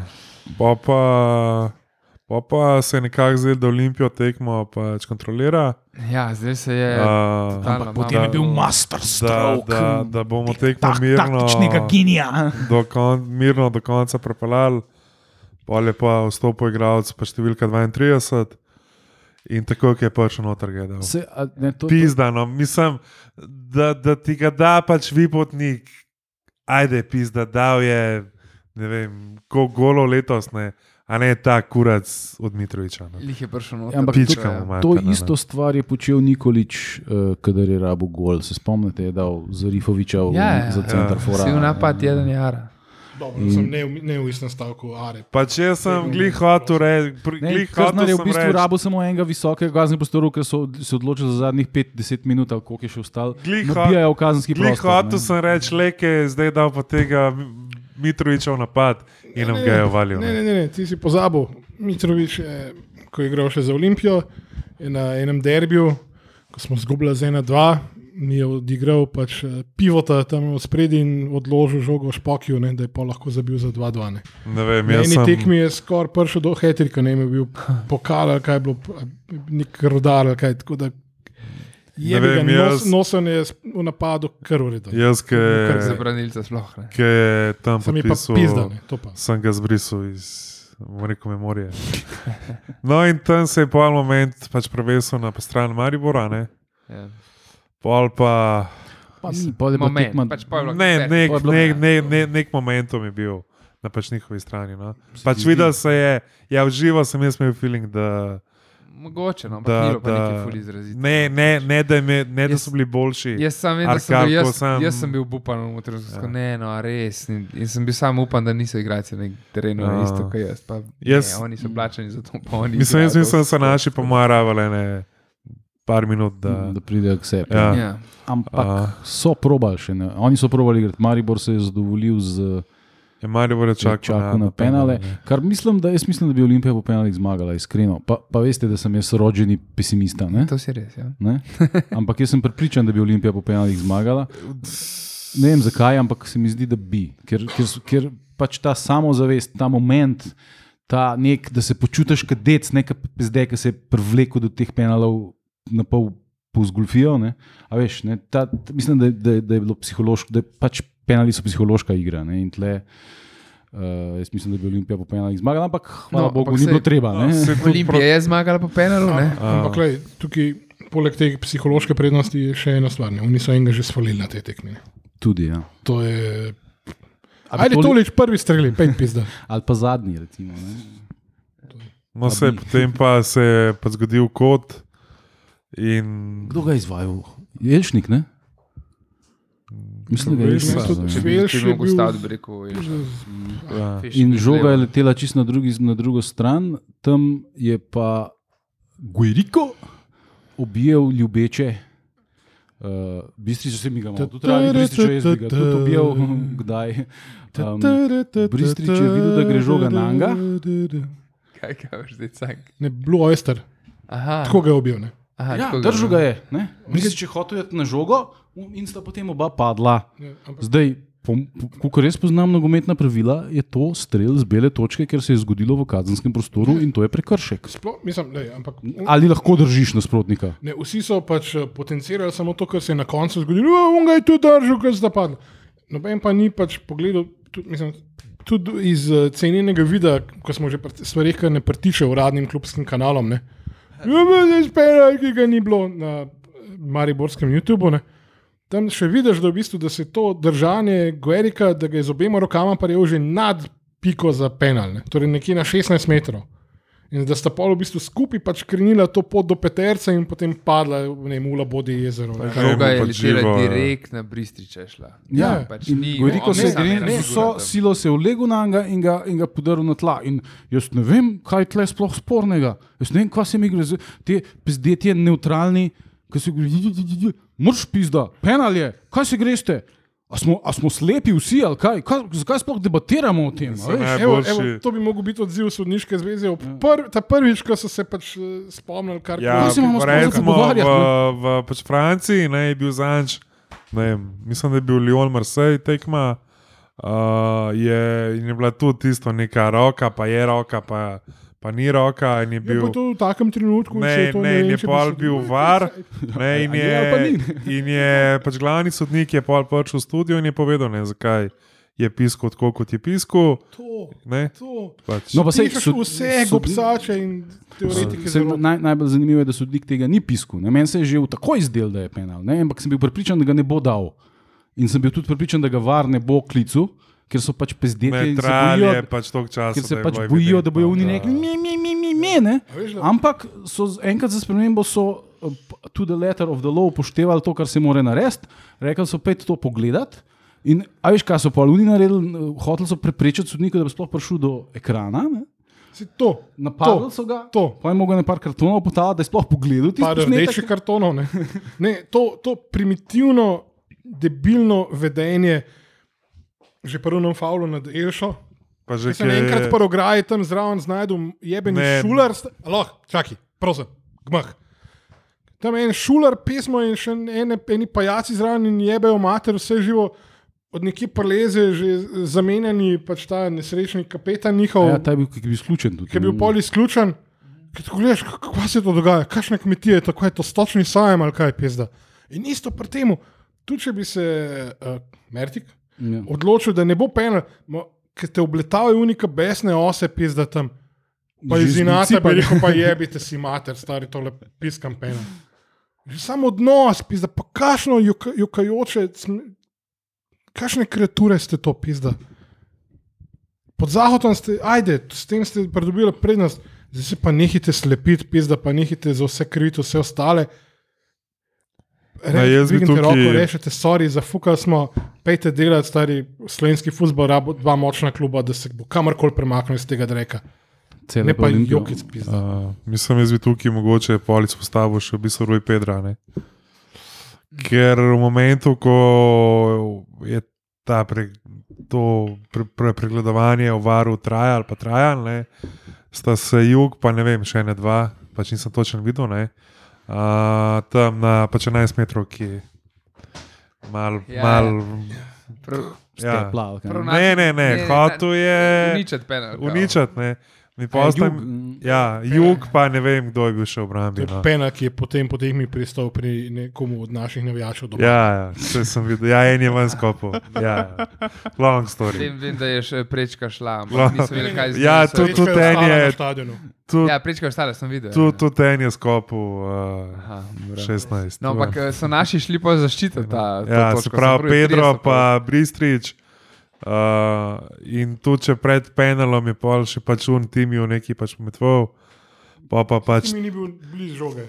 pa, pa, pa, pa se je nekako zdel, da Olimpijo tekmo pač kontrolira.
ja, zdaj se je.
Uh,
totalno
potem je
malo-
bil
master
da, da, da bomo tekmo mirno,
genija.
do kon, mirno do konca prepeljali. Pol je pa vstopil igralec, pa številka 32 in tako je pač noter gledal.
Se, a, ne, to, to,
Pizdano, mislim, da, da ti ga da pač vipotnik, ajde, pizda, dal je, ne vem, koliko golo letos, ne, a ne ta kurac od no. Mitroviča. Ne.
Lih je prišel noter.
Ja, Ampak
pička
to je-
mu no, manj.
to
mater, ne,
isto
ne.
stvar je počel Nikolič, uh, kadar je rabo gol. Se spomnite, je dal Zarifoviča v,
Ja, ja,
za center
ja.
Fora.
Si v napad jeden jara.
Dobro, sem ne, v- ne v istem stavku, are.
Pa če sem glih hotel reči,
Ne,
glih hotel
Kaznar je v
sem
bistvu
reči.
rabo samo enega visokega kaznega prostora, ker so se odločili za zadnjih 5-10 minut, ali koliko je še ostalo.
Glih ho-
Nabijajo v kazenski
Glih
prostor. ne.
hotel sem reči, leke je zdaj dal pa tega Mitroviča v napad in nam ga je valil.
Ne, ne, ne, ne, ti si pozabil. Mitrovič, je, ko je igral še za Olimpijo, je na enem derbiju, ko smo zgubili z 1-2, mi je odigral pač eh, pivota tam od spredi in odložil žogo špokiju, ne, da je pa lahko zabil za 2-2. ne.
Ne vem,
Na
jaz
eni
sem
tekmi je skoraj prišel do Hetrika, ne vem, je bil pokal ali kaj je bilo, nek rodar ali kaj. Tako da je
Ne vem,
bil nos,
jaz- Ja,
nosen je s- v napadu kar urejen.
Jaz, ki
Kar
Za
je-
branilca sploh ne.
ki je tam
Sem je pa
podpisal,
pizdal, ne, to pa.
sem ga zbrisal iz bom rekel, memorije. No, in tam se je po enem momentu pač prevesel na stran Maribora, ne?
Ja.
pol pa.
Pa ni, pol je bila
Moment,
tekma-
pač pol je bila-
Ne, nek,
To je bilo-
nek, nek, nek, nek momentum je bil na pač njihovi strani. No. Pač videl se je, ja, v živo sem jaz imel feeling, da,
Mogoče, no, ampak ni
da,
bilo pa nekaj
da,
ful izrazito.
ne, ne, ne, da, me, ne da
Jaz-
so bili boljši.
Jaz sam vem, da sem
Arkarko
bil, jaz,
sem-
sem... jaz sem bil upan v motorju, ja. ne, no, a res. In, in sem bil sam upan, da niso igralci na terenu,
Ja.
ja. isto kot jaz. Pa,
Jaz-
ne, oni so plačani za to, pa oni.
Mislim, jaz
igrajo.
mislim, da so naši po mojem ravali ne par minut. Da,
Mm, Da pridejo k sebi.
Ja.
Ja.
Ampak
a,
so probali še. Ne. Oni so probali igrati. Maribor se je zadovoljil z
je Maribor je čakal, ja,
čakom na penale. Kar mislim, da, jaz mislim, da bi Olimpija po penalih zmagala, iskreno. Pa, pa veste, da sem jaz rođeni pesimista. Ne?
To si res. Ja.
Ne? Ampak jaz sem pripričan, da bi Olimpija po penalih zmagala. Ne vem zakaj, ampak se mi zdi, da bi. Ker, ker, s- ker pač ta samozavest, ta moment, ta nek, da se počutiš kot dec, neka zdaj, ki se je privlekel do teh penalov na pol pozgulfijo. Ne? A Veš, ne? Ta, ta, mislim, da, da, da je bilo psihološko, da je pač penali so psihološka igra. Ne? In tle, uh, jaz mislim, da bi Olimpija po penalih zmagala, ampak hvala no,
No,
Bogu,
ampak no,
ni
sej-
bilo treba. Ne?
Olimpija je zmagala po penalu, ne?
Ehm.
Ampak lej, tukaj, poleg te psihološke prednosti, je še ena stvar. ne. Oni so enega že svalili na te tekme. ne.
Tudi, ja.
To je.
bi
Ali je
toli-
tolič prvi strelil, pet pizda.
Ali pa zadnji, recimo. Ne?
No, se,
bi.
potem pa se je pa zgodil kot. In
Kdo ga je izvajal? Jelšnik, ne? Mislim, da je
Mislim,
Jelšnik.
tudi
izvajal, ja.
če bi- Velš
Če
je
bi mogel
bil-
staviti, bi rekel. Velš.
ja,
Fiš,
In
bi
žoga je
gledal.
letela čisto na, drugi, na drugo stran, tam je pa Gueriko objel ljubeče. Uh, bistri so se mi ga malo tudi radi, bistri so jaz bi ga tudi objel, kdaj. Um, Bristrič je videl, da gre žoga na njega.
Kaj kaj boš zdaj cak?
Ne, Blue Oyster,
Aha,
tako ga je objel. Ne?
aha,
Ja,
tako
držal ga je. ne. Bristrič je hotel iti na žogo in sta potem oba padla.
Ja, ampak
Zdaj, kot jaz poznam nogometna pravila, je to strel z bele točke, ker se je zgodilo v kazenskem prostoru in to je prekršek.
Sploh, mislim, lej, ampak
Ali lahko držiš nasprotnika?
ne, vsi so pač eh, potencirali samo to, kar se je na koncu zgodilo. "Ja, On ga je tu držal, ker sta padla. Noben pa ni pač pogledal, tudi, mislim, tudi iz eh, cenjenega vida, ko smo že pri stvareh, ki ne pretiče uradnim klubskim kanalom. Ne. Ja, pa Zdaj spera, ki ga ni bilo na mariborskem YouTubu. Ne. Tam še vidiš, da, v bistvu, da se to držanje Guerika, da ga je z obema rokama, pa je že nad piko za penal, ne. torej nekje na 16 metrov. In da sta pol v bistvu skupaj pač krenila to pot do Peterca in potem padla ne vem, v Labodi jezero. ne.
že-
Žoga je
pa živo,
letela
ja.
direkt na Bristriče. Šla.
Ja,
pač
in
ni-
Goriko
on
se
ne
je
zna, ne
zgrnil, z
razgura
vso
tam.
silo se je vlegel na njega in ga, in ga podaril na tla. In jaz ne vem, kaj je tle sploh spornega. Jaz ne vem, kaj se mi gre. z- Te pizdetje neutralni, ki se gre, moraš pizda, penal je, kaj se greste. A smo, a smo slepi vsi, ali kaj? kaj? Zakaj sploh debatiramo o tem? a veš?
ne-
Evo,
Najboljši. Mm.
evo, to bi lahko bil odziv sodniške zveze. ob Prv, ta prvič, ko so se pač eh, spomnili, kar
Ja,
Kaj se imamo sploh za
recimo v,
pogovarjati,
v pač Franciji ne, je bil zanč, ne vem, mislim, da je bil Lyon Marseille tekma. Uh, je, in je bila tudi tisto neka roka, pa je roka, pa, pa ni roka. In je
je
bil,
bilo Ja, to v takem trenutku, če
ne,
to
ne, in
vem,
je
če bi
pol
se-
bil var. Ne, in,
A je ali pa
je,
ni,
in je pač glavni sodnik je pol prišel v studio in je povedal, ne, zakaj je piskal tako, kot je piskal.
To,
Ne,
to.
pač.
No, pa sej
Pišeš
sod-
vse
sod-
gobsače in teoretike.
Se,
zelo-
naj, najbolj zanimivo je, da sodnik tega ni pisal. Meni se je že v takoj zdel, da je penal, ne? ampak sem bil pripričan, da ga ne bo dal. In sem bil tudi pripričan, da ga var ne bo klical, ker so pač pezdeti in se
Neutral
bojijo,
je pač toliko časa.
ker se
je
pač
bilo
bojijo, da
evidentno,
bojo oni
da-
rekli, mi, mi, mi, mi, mi, ne.
veš, da-
Ampak so z- enkrat za spremembo so uh, p- to the letter of the law upoštevali to, kar se more narediti, rekli so pet to pogledati. In a veš, kaj so pa oni naredili, hoteli so preprečiti sodniku, da bi sploh prišel do ekrana. Ne?
Si to.
Napadli so ga,
to.
pa je mogel na par kartonov potavati, da je sploh pogledal tisto
Par rdečih kartonov. Ne. Ne, to, to primitivno, debilno vedenje, že prvo nam favlo nad Elšo.
Pa že
Če sem enkrat po ograji tam zraven znašel, jeben
Ne.
šular, aloh, čakaj, prosim, gmah. Tam je en šular, pismo in še ene, eni pajaci zraven in jebejo mater, vse živo. Od nekje preleze, že zamenjani pač ta nesrečni kapetan njihov.
Ja, ta je bil, ki je bil izključen tudi.
ki je bil pol izključen. Ker Tako gledaš, k- kaj se to dogaja, kakšne kmetije je to, kaj je to stočni sajem ali kaj pizda. In isto pri tem, tudi če bi se uh, Mertik
Ja.
odločil, da ne bo penal, mo- ker te obletavajo unika besne ose pizda tam. Pa
Že
iz inata
izbicipa.
bi rekel, pa jebite si mater, stari tole piskam penal. Že samo odnos, pizda, pa kašno joka, jokajoče, sme- kakšne kreature ste to pizda. Pod zahodom ste, ajde, s tem ste pridobili prednost, zdaj se pa nehite slepiti, pizda, pa nehite za vse kriviti, vse ostale.
Ne, jaz bi
Rečete, tukaj... roko,
tukaj-
rečete, sorry, zafukali smo, pejte delati, stari slovenski futbol, rabo dva močna kluba, da se bo kamorkoli premaknil iz tega reka.
Cele
Ne pa
Olimpijo.
jokic, pizda.
Uh, mislim, jaz bi tukaj mogoče polic postavil še v bistvu Rui Pedra. Ne? Ker v momentu, ko je ta pre, to pre, pre, pregledovanje v varu trajal, pa trajal, ne, sta se jug, pa ne vem, še ne dva, pač nisem točen videl, ne, uh, tam na pač 11 metrov, ki je mal,
Ja,
ja, mal,
Prav,
ja.
Stepla, ali kaj,
Prav-
Ne, ne, ne,
Ne,
hotel je
uničiti penal. kao.
uničiti, ne. Mi
Ja,
pa ostajamo.
jug, mm,
Ja, jug, pa ne vem, kdo je bil še v
To
obrambi.
je
No.
pena, ki je potem po tekmi pristal pri nekomu od naših navijačev doma.
Ja, ja, vse sem videl, ja, en je ven skopil. Ja, ja. long story.
Vem, vem, da je še prečka šla,
No.
ampak nisem videl, kaj z njo se
Ja,
je
tudi-
zgodilo.
tudi en je-
Ja,
Tudi
prečka je ostala, sem videl.
tu- tudi en je skopil uh,
Aha, dobro.
16.
No, ampak eh, so naši šli pa zaščititi ta. to
ja,
točko,
se
so
pravi,
prvi
Pedro
30
pa Bristrič. Uh, in tu, če pred penalom je pol še pač un tim, je v neki pač metval, pa pa pač
Mi ni bil blizu žoge.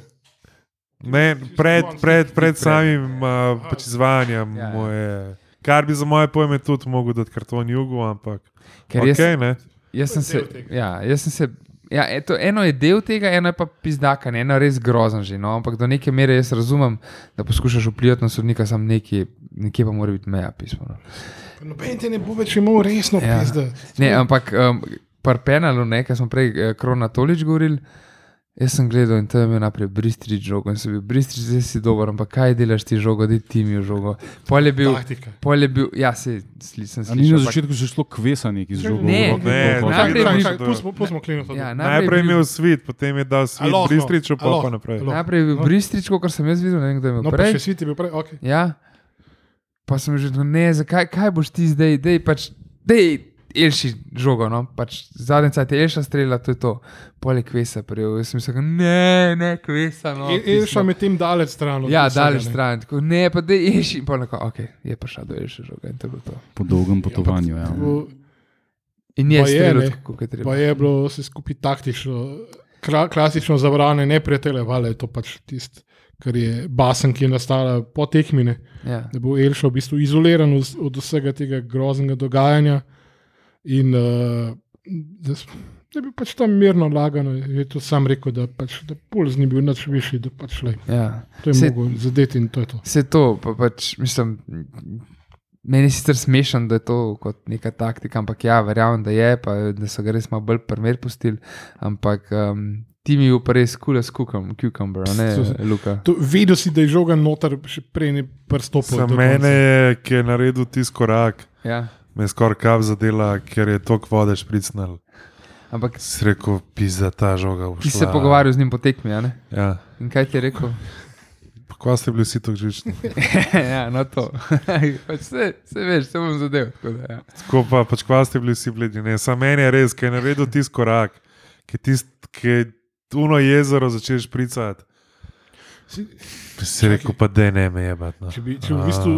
Ne, pred,
Čisto
pred, pred
Ja,
samim uh, pač izvajanjem
Ja, ja.
mu je. Kar bi za moje pojme tudi mogel dati karton jugu, ampak.
Ker
okay,
jaz-
ne.
Jaz sem
To je
se.
del tega.
Ja, jaz sem se ja, eto, eno je del tega, eno je pa pizdaka, eno je res grozen že. No? Ampak do neke mere jaz razumem, da poskušaš vplivati na sodnika, sam nekje, nekje pa mora biti meja pismo. No?
Noben te ne bo več imel resno, ja.
Ja.
pizda.
Ne, ampak um, par penalov, ne, kar smo prej eh, Krona Tolič govorili. Jaz sem gledal in tam je imel najprej Bristrič žogo in sem bil Bristrič, zdaj si dober, ampak kaj delaš ti žogo, da ti mi žogo. Pol je bil,
Taktika.
pol je bil, ja, se slišim,
A Ni
slišal.
na
ampak-
začetku že šlo kvesa neki z žogo.
Ne,
v roki,
ne,
najprej
tako, tako.
bi-
Čakaj,
bi-
čakaj, Pustimo, pustimo klinico.
Ja,
Najprej je
bi-
imel svit, potem je dal svit
Aloha,
Bristriču, pa,
aloha,
pa naprej.
aloha.
Najprej je bil
No.
Bristrič, kot sem jaz videl, ne vem, kdo je imel
No, pa
prej.
še sviti bil prej, ok.
Ja. Pa sem že rekel, ne, zakaj kaj boš ti zdaj, da je pač, da je Elši žogo. No? Pač zadnji cajt je Elša streljala, to je to. Poleg kvesa prijel. Jaz sem rekel, ne, ne, kvesa. No,
E- Elša med tem daleč stran. od
Ja,
vsega,
daleč
ne.
stran. Tako, ne, pa da je Elši. In pa nekako, ok, je prišla do Elše žoga in to je bilo to.
Po dolgem potovanju. Ja.
Tako,
In je
Baje,
streljal
ne.
tako, kot je treba.
Pa je bilo vse skupaj taktično, kla, klasično zavrane, ne prijatelje, vale je to pač tisto, kar je basen, ki je nastala po tekmine.
Ja.
Da bo Elša v bistvu izoliran od, od vsega tega groznega dogajanja in uh, da, s- da bi pač tam mirno lagano, je tudi sam rekel, da, pač, da puls ni bil nič višji, da pač le.
Ja.
To je
Se-
mogo zadeti in to je to.
Vse to, pa pač, mislim, meni je sicer smešno, da je to kot neka taktika, ampak ja, verjamem, da je, pa da so ga res malo bolj primer pustili. Ampak um, ti mi je pa res kula s kukom, cucumber, a ne
Pst,
Luka.
To, vedel si, da je žoga noter, še prej ne prstopil.
Ja, Za mene je, ki je naredil tisti korak,
Ja.
me je skoraj kav zadela, ker je tok vode špricnil.
Ampak
Si rekel, pisa ta žoga. bo
ti se
šla."
pogovarjal z njim po tekmi, a ne?
Ja.
In kaj ti je rekel?
Pa Ko ste bili vsi tako živčni.
ja, no to. pač se, se veš, se bom zadev. tako Da, ja.
Tako pa, pač ko ste bili vsi bledni. Ne, samo meni je res, ker je naredil tisti korak, ki je tisti, ki je tuno jezero začel špricati.
Si,
Si rekel, pa da ne me je bat. No.
Če bi, če bi v bistvu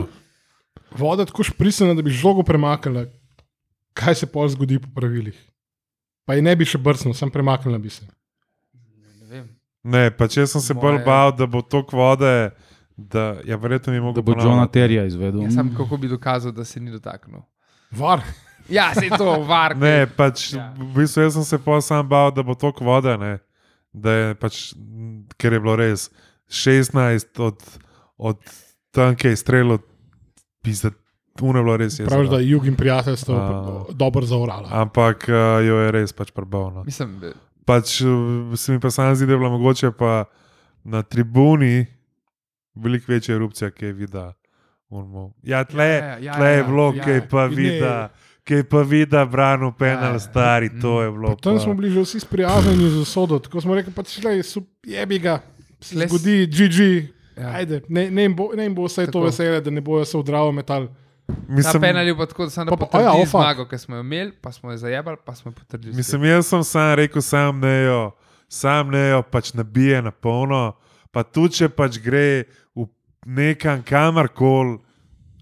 voda tako šprisena, da bi žogo premaknila, kaj se pol zgodi po pravilih? Pa je ne bi še brcnil, sem premaknila bi se.
Ne vem.
Ne, pa če sem se bolj
Moje-
bal, da bo tok vode, da ja, verjetno mi
Da
mogo
bo John Terja izvedel.
Ja, sam kako bi dokazal, da se ni dotaknil.
Var,
Ja, se je to, varno.
Ne, pač
Ja.
v bistvu jaz sem se pa sam bal, da bo tok vode, ne. Da je pač, m, ker je bilo res 16 od, od tam, ki je strelo, pisa, tuno je bilo res jezero.
praviš, da je jug in prijateljstvo
A.
dobro zaorala.
Ampak uh, jo je res pač prbavno.
Mislim, eh,
Pač, eh, se mi pa sam zdi, da je bila mogoče pa na tribuni veliko večja erupcija, ki je vida. Unmo. Ja, tle, ja, ja, ja, tle je
ja,
bilo,
ja.
ja, ki je pa
Ne.
vida. Ki je pa videl, branil penal,
Ja.
ja. stari, to je bilo.
Pa Tam
pa-
smo bili že vsi sprijaznjeni z usodo, tako smo rekli, pač le, jebi ga, se
Les-
zgodi, GG.
Ja.
Ajde, ne, ne, jim bo, ne jim bo vse
Tako.
to veselje, da ne bojo se vdravo metal.
Ta
Mislim,
penal je bil pa tako, da sem
Pa- pa-
potrdil
aja,
ja,
o, fuck.
zmago, ki smo jo imeli, pa smo jo zajabali, pa smo jo potrdili.
mislim, jaz sem sam rekel, sam nejo, sam nejo, pač nabije na polno. Pa tudi, če pač gre v nekam, kamor koli,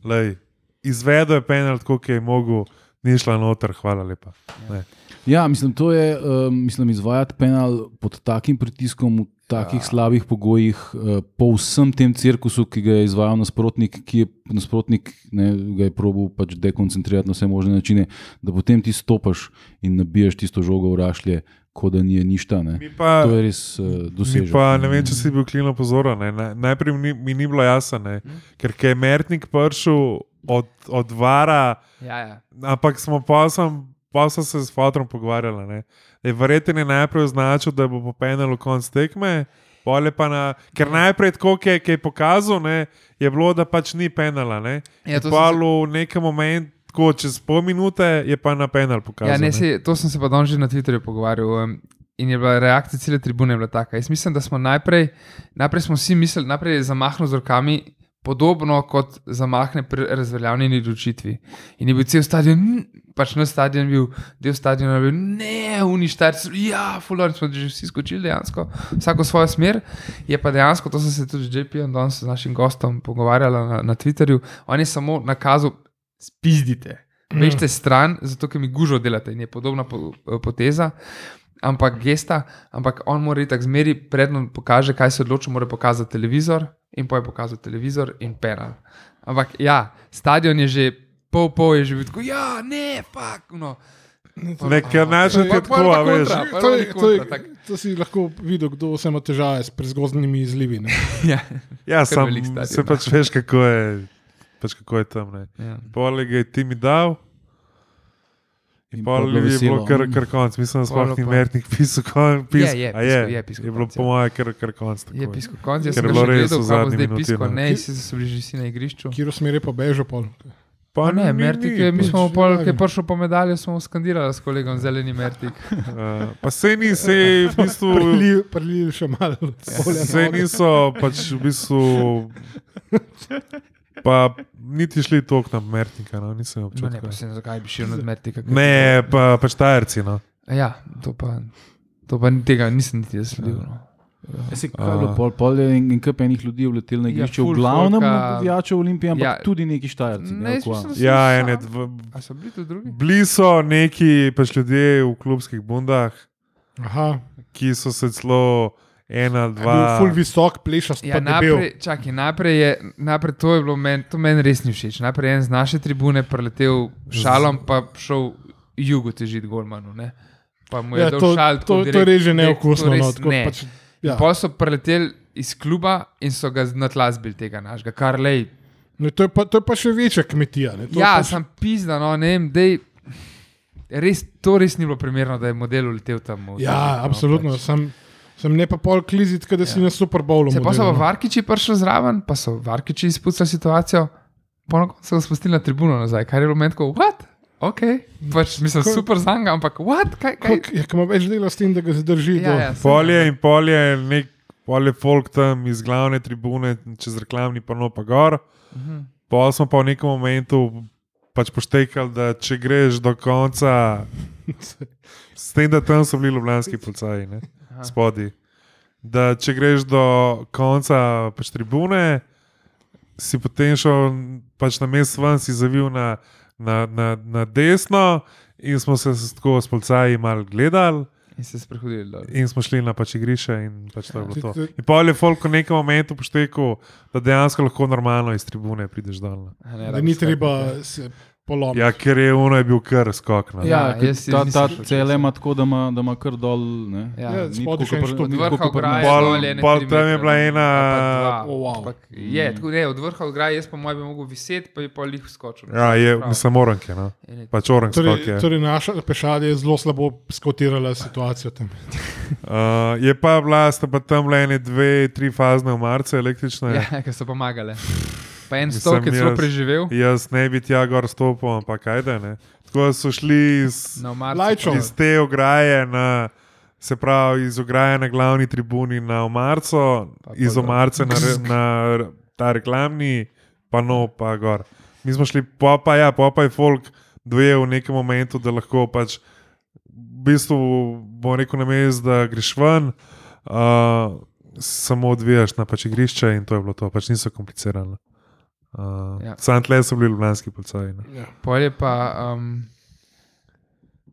lej, izvedel je penal, tako kot je mogel, ni šla noter, hvala lepa. Ne.
Ja, mislim, to je, um, mislim, izvajati penal pod takim pritiskom, v takih ja. slabih pogojih, uh, po vsem tem cirkusu, ki ga je izvajal nasprotnik, ki je nasprotnik, ne, ga je probil pač dekoncentrirati na vse možne načine, da potem ti stopiš in nabiješ tisto žogo v rašlje, kot da ni je ništa. Ne.
Mi pa,
To je res uh,
mi
doseženo.
pa ne vem, če si bil klino pozoren. ne. Na- Najprej mi, ni- mi ni bilo jasno, ne. ker ko je Mertnik prišel od, od vara,
Ja, ja.
ampak smo pa sem. Pa so se s Fotom pogovarjali. ne. Da je Verjeten je najprej označil, da bo popenal konc tekme, pol je pa na.
Ja.
Ker najprej, tako ki je, ki je pokazal, ne, je bilo, da pač ni penala. Ne.
Ja, to sem
E, pa
se-
v nekem momentu, tako čez pol minute, je pa na penal pokazal.
ja ne,
ne.
se, to sem se pa danes že na Twitterju pogovarjal. Um, in je bila reakcija cele tribune je bila taka. Jaz mislim, da smo najprej, najprej smo vsi mislili, najprej je zamahnil z rokami. Podobno kot zamahne pri razveljavljeni odločitvi. In je bil cel stadion, "N", pač naš stadion je bil, del stadiona je bil, ne, uništarci, ja, fulani smo že vsi skočili, dejansko, vsako svojo smer. Je pa dejansko, to sem se tudi z JP-om danes z našim gostom pogovarjala na, na Twitterju, on je samo nakazal, spizdite. Večte Mm. stran, zato ker mi gužo delate in je podobna po, eh, poteza, ampak gesta, ampak on mora tako zmeri, predno pokaže, kaj se odloči, mora pokazati televizor in poje pokazati televizor in penal. Ampak ja, stadion je že pol pol, je že bil tako, ja, ne, fuck. No.
Ne, ker naše je
Pa- pa-
tako, a
Ja, pa
veš.
kontra.
To, je, to, je,
kontra, tako.
to si lahko videl, kdo vse ima težave s prezgodnimi izlivi. ne.
Ja.
Ja, sam
velik stadion,
se
ne.
pač veš, kako je, pač kako je tam. Ne.
Ja.
Poleg je ti mi dal. In
In
pa
pol je bilo
je
veselo.
bilo kar, kar konc, mislim, da
Mm. Pol
sploh ni
pa-
Mertnik pisal kon, pis,
Je, je,
a
piskal,
je,
je piskal
je bilo
konec,
po
ja.
moje kar, kar konc. tako
Je pisko konc, jaz
Ker
sem
je
ga
bilo
že
res v
gledal, kaj bo
zadnji
zdaj
minuti,
pisko,
no.
ne, si so bili že vsi na igrišču.
Kjer smer je pa bežal pol.
Pa
Pa ne, Mertik, je- mi
pač
smo pol,
vlaga.
ki je prišel po medaljo, smo skandirali s kolegom zeleni Mertik.
Uh, pa se ni, se je v bistvu.
Prelil, prelil še malo
Ja.
olja.
Zdaj niso pač v bistvu. Pa niti šli tok na Mertnika, no, nisem
No, ne,
občutil.
pa se ne, zakaj bi šel nad Mertika. kaj-
Ne, pa, pač tajerci. No.
Ja, to pa, to pa ni- tega nisem niti jaz sledil. No.
Ja, se, kaj je bilo pol, pol je en kup enih ljudi vletel na
Ja,
igrišče,
ful
v glavnem
folka.
navijačev Olimpije, ampak
Ja.
ja. tudi neki štajerci.
Ne, jaz mislim, da so
Ja,
samo-
ene, dv,
A so bili tu drugi?
bili so neki pač ljudje v klubskih bundah,
Aha,
ki so se celo ena,
bil je
dva.
ful visok, plešast,
Ja,
pa debel.
najprej, čakaj, najprej je, najprej to je bilo meni, to meni res ni všeč. Najprej je en z naše tribune preletel šalom, pa šel jugo težiti Golmanu. Ne? Pa mu je
Ja,
dal
to,
šal.
to, to je res že neokusno. No, tako
ne.
pač,
ja.
ja.
Pol so preleteli iz kluba in so ga na tla zbil tega našega, kar lej.
no, to, je pa, to je pa še večja kmetija. Ne, to je
Ja,
pač,
sem pizda, no, ne vem, dej, res, to res ni bilo primerno, da je model letel tam. v
ja
Zagreb, no,
absolutno.
pač.
Sem, sem ne pa pol klizit, da ja. si na Super Bowlu.
Se pa so
model,
pa
no.
Varkiči prišli zraven, pa so Varkiči izpucali situacijo, pa na koncu so ga spustili na tribuno nazaj, kar je bilo meni tako, what? Ok, pač mislim,
Ko-
super za njega, ampak what? Kaj, kaj?
Kako- Ja, ki ima več dela s tem, da ga zadrži.
Ja,
do-
ja, sem-
Polje in polje, nek polje folk tam iz glavne tribune, čez reklamni pano pa gor.
Mhm.
Pa smo pa v nekem momentu pač poštekali, da če greš do konca, s tem, da tam so bili ljubljanski policaji, ne,
Aha.
spodi. Da če greš do konca pač tribune, si potem šel pač na mest ven, si zavil na, na, na, na desno in smo se s- tako s policaji malo gledali.
In se sprehodili dol.
In smo šli na pač igrišče, in pač to je bilo to.
Tudi-
In pa je Folk v nekem momentu poštekel, da dejansko lahko normalno iz tribune prideš dol.
A ne,
Da
rabiš
ni
skakati, ja.
treba se polomiti.
Ja, ker je uno je bil kar skok. ne.
Ja,
Ja, ja,
jaz- jaz
ta ta
nisem šel
cel
čez.
ima tako, da ima, da ima kar dol. Ne?
Ja,
Ja,
Ni
spodaj
tako,
še en
kot pri-
štup.
ni
Od
tako,
vrha
kot pri
ograje,
nas.
Pol-
dol je ene
pol
tri
tam je
metre,
bila
ne,
ena-
ali pa dva.
Oh, wow.
Ampak Je, tako ne, od vrha ograje, jaz po mojem bi mogel viseti, pa bi pa lih skočil.
Ja, je,
Prav.
mislim, orank je. No.
Ene-
Pač orank skok je.
ja.
Torej, torej naša pešada je zelo slabo skotirala situacijo tam.
Uh, je pa bila, sta pa tam le ene, dve, tri fazne omarice električne.
Ja, ki so pomagale. Pa en
Mislim,
stol, ki je celo
Eh. jaz-
preživel.
Jaz ne bi tja gor stopil, ampak kaj da ne. Tako da so šli iz,
Na omarci
Lajčo.
pa-
iz te ograje, na, se pravi iz ograje na glavni tribuni na Omarco,
Pa
iz
pol dol.
Omarce na, re- na re- ta reklamni, pa no, pa gor. Mi smo šli, pa pa ja, pa pa je folk dojel v nekem momentu, da lahko pač v bistvu bo rekel na mestu, da greš ven. Uh, Samo odvijaš na pač igrišče, in to je bilo to, pač niso komplicirane. Uh,
Ja.
ja. Sam tle so bili ljubljanski policaji. ne.
Pol je pa. Um,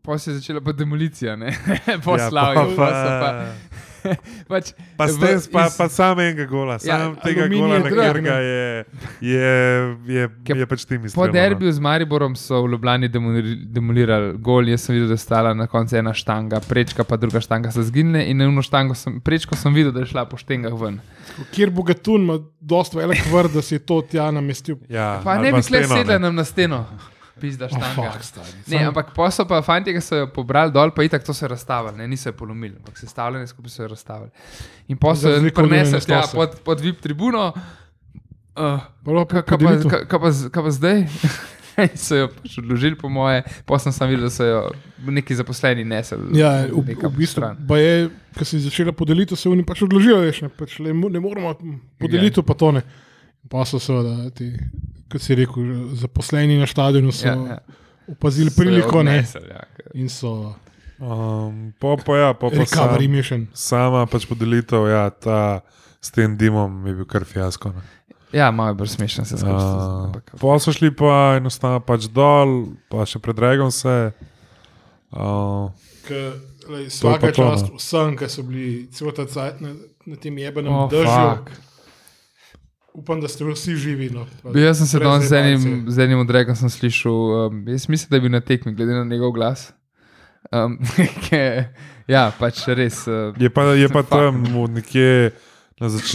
Pol se je začela pa demolicija, ne
Ja,
poslavje.
pa-
Ja, pa, pa,
pa-
pač,
Pa,
v-
stres, pa,
iz-
pa sam enega gola, sam ja, tega
aluminij
gola,
je
na
drag,
katerega
ne.
je, je, je,
Ke-
je pač tim
Ja,
iz
po derbiju z Mariborom so v Ljubljani demoli- demolirali gol. Jaz sem videl, da je stala na koncu ena štanga, prečka pa druga štanga se zginile in na eno štango sem, prečko sem videl, da je šla po štengah ven.
Kjer bogatun ima dosta velik vrt, da si je to tja namestil.
Ja,
Pa
ali
ne bi
steno,
kle sedel
ne.
nam na steno. Pizda štanga.
fuck, stari.
ne, ampak posel pa fanti, ki so jo pobrali dol, pa itak to so razstavili, ne, niso jo polomili, ampak sestavljene skupaj so jo razstavili. In
Za
posel je
razliko od
prenesel tja
89.
pod, pod VIP tribuno, uh,
Bilo
kaj
pa
ka pa,
podelitev.
ka, ka pa, z- ka pa zdaj? In so jo pač odložili, po moje, posel sem videl, da so jo neki zaposleni nesli.
Ja, v, v
nekam
bistvu,
stran.
pa je, ko si začela podeliti, se oni pač odložijo, veš, ne, pač le, mo- ne moramo
Ja.
podeliti, pa to ne. Pa so seveda ti, kot si rekel, zaposleni na stadionu so
Ja, ja.
ja, ja. opazili
So jo
priliko ne,
odnesli, Ja, ker-
in so
Um, po pa ja, po pa sam,
recovery mission.
sama pač podelitev, ja, ta s tem dimom je bil kar fiasko. ne.
ja malo je bolj smešno se zgodi.
Ah.
Uh, pa so šli pa enostavno pač dol, pa še pred Dragon se. Uh,
K, lej,
To je
svaka
pa to,
čast
no.
vsem, ki so bili celo ta cajt na, na tem jebenem oh,
Oh,
držju.
fuck.
Upam, da ste vsi živi. No, Pa
Bil jaz sem se
brez
danes z enim,
zajebance.
z enim odrekom sem slišal, um, jaz mislim, da je bil na tekmi, glede na njegov glas. Um, ke, ja, pač res. Uh,
je pa, je pa
Fuck.
tam v nekje na, zač,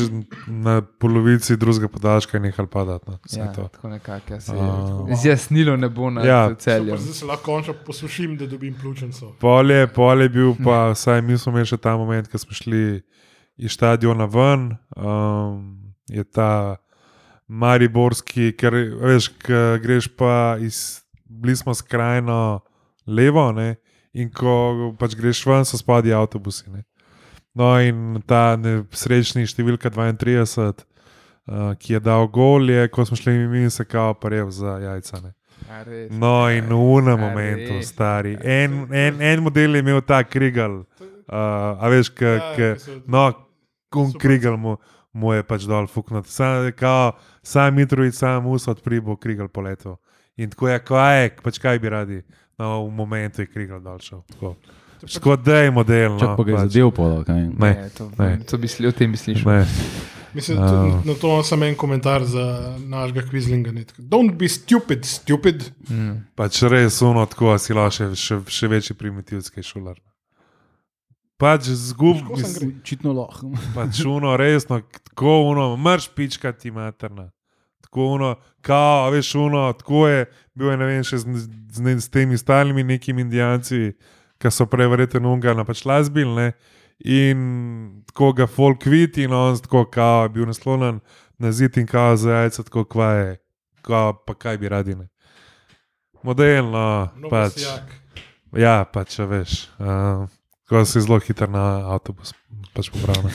na polovici drugega podaljška je nehal padati. No, vse
ja,
to.
tako nekako, ja, se,
Ah.
zjasnilo ne bo na
Ja.
ja, celju.
Super, Zdaj se lahko končno posušim, da dobim pljučenco.
Polje, polje je bil pa, vsaj mi smo imeli še ta moment, ko smo šli iz stadiona ven. Um, je ta Mariborski, ker veš, ko greš pa iz, bili smo skrajno levo, ne? in ko pač greš ven, so spadi avtobusi. Ne? No, in ta nesrečni številka 32, uh, ki je dal gol, je, ko smo šli mi in se kao parev za jajca. Ne?
A res.
No, in v unem momentu,
res.
stari. En, en, en model je imel ta krigal, uh, eh, a veš, k,
Ja,
k,
ki so-
no, Krigel mu, mu je pač dol fuknut. Sam, kao, sam Mitrovic, sam Usod pribo, Krigel poletel. In tako je, kaj je, pač kaj bi radi. No, v momentu je Krigel dol šel. Tako. Škoda, da je model.
Če
No,
pa ga je zadev podal, kaj je.
Ne,
Ne, to,
ne.
to bi sli, o tem bi slišal.
ne.
Mislim,
Ah.
uh. Na to imam samo en komentar za našega kvizlinga. ne, tako, Don't be stupid, stupid.
Pač res uno tako, a si lahko še, še, še večji primitivski šular. Pač
Težko sem
zgubi,
gre.
Očitno lahko.
pač uno resno, tako uno, mrš pička ti materna. Tako uno, kao, a veš uno, tako je bil je, ne vem, še z, z, ne- s temi stalnimi nekimi indijanci, ki so prej verjeten unga na pač lasbil, ne. In tako ga folk vidi, in on tako kao, je bil naslonjen na zid in kao za jajca, tako kvaje, kao, pa kaj bi radi ne. Modelno,
No,
pač.
vesjak.
Ja, pač a veš. Uh, Ko si zelo hiter na avtobus, pač popravljam.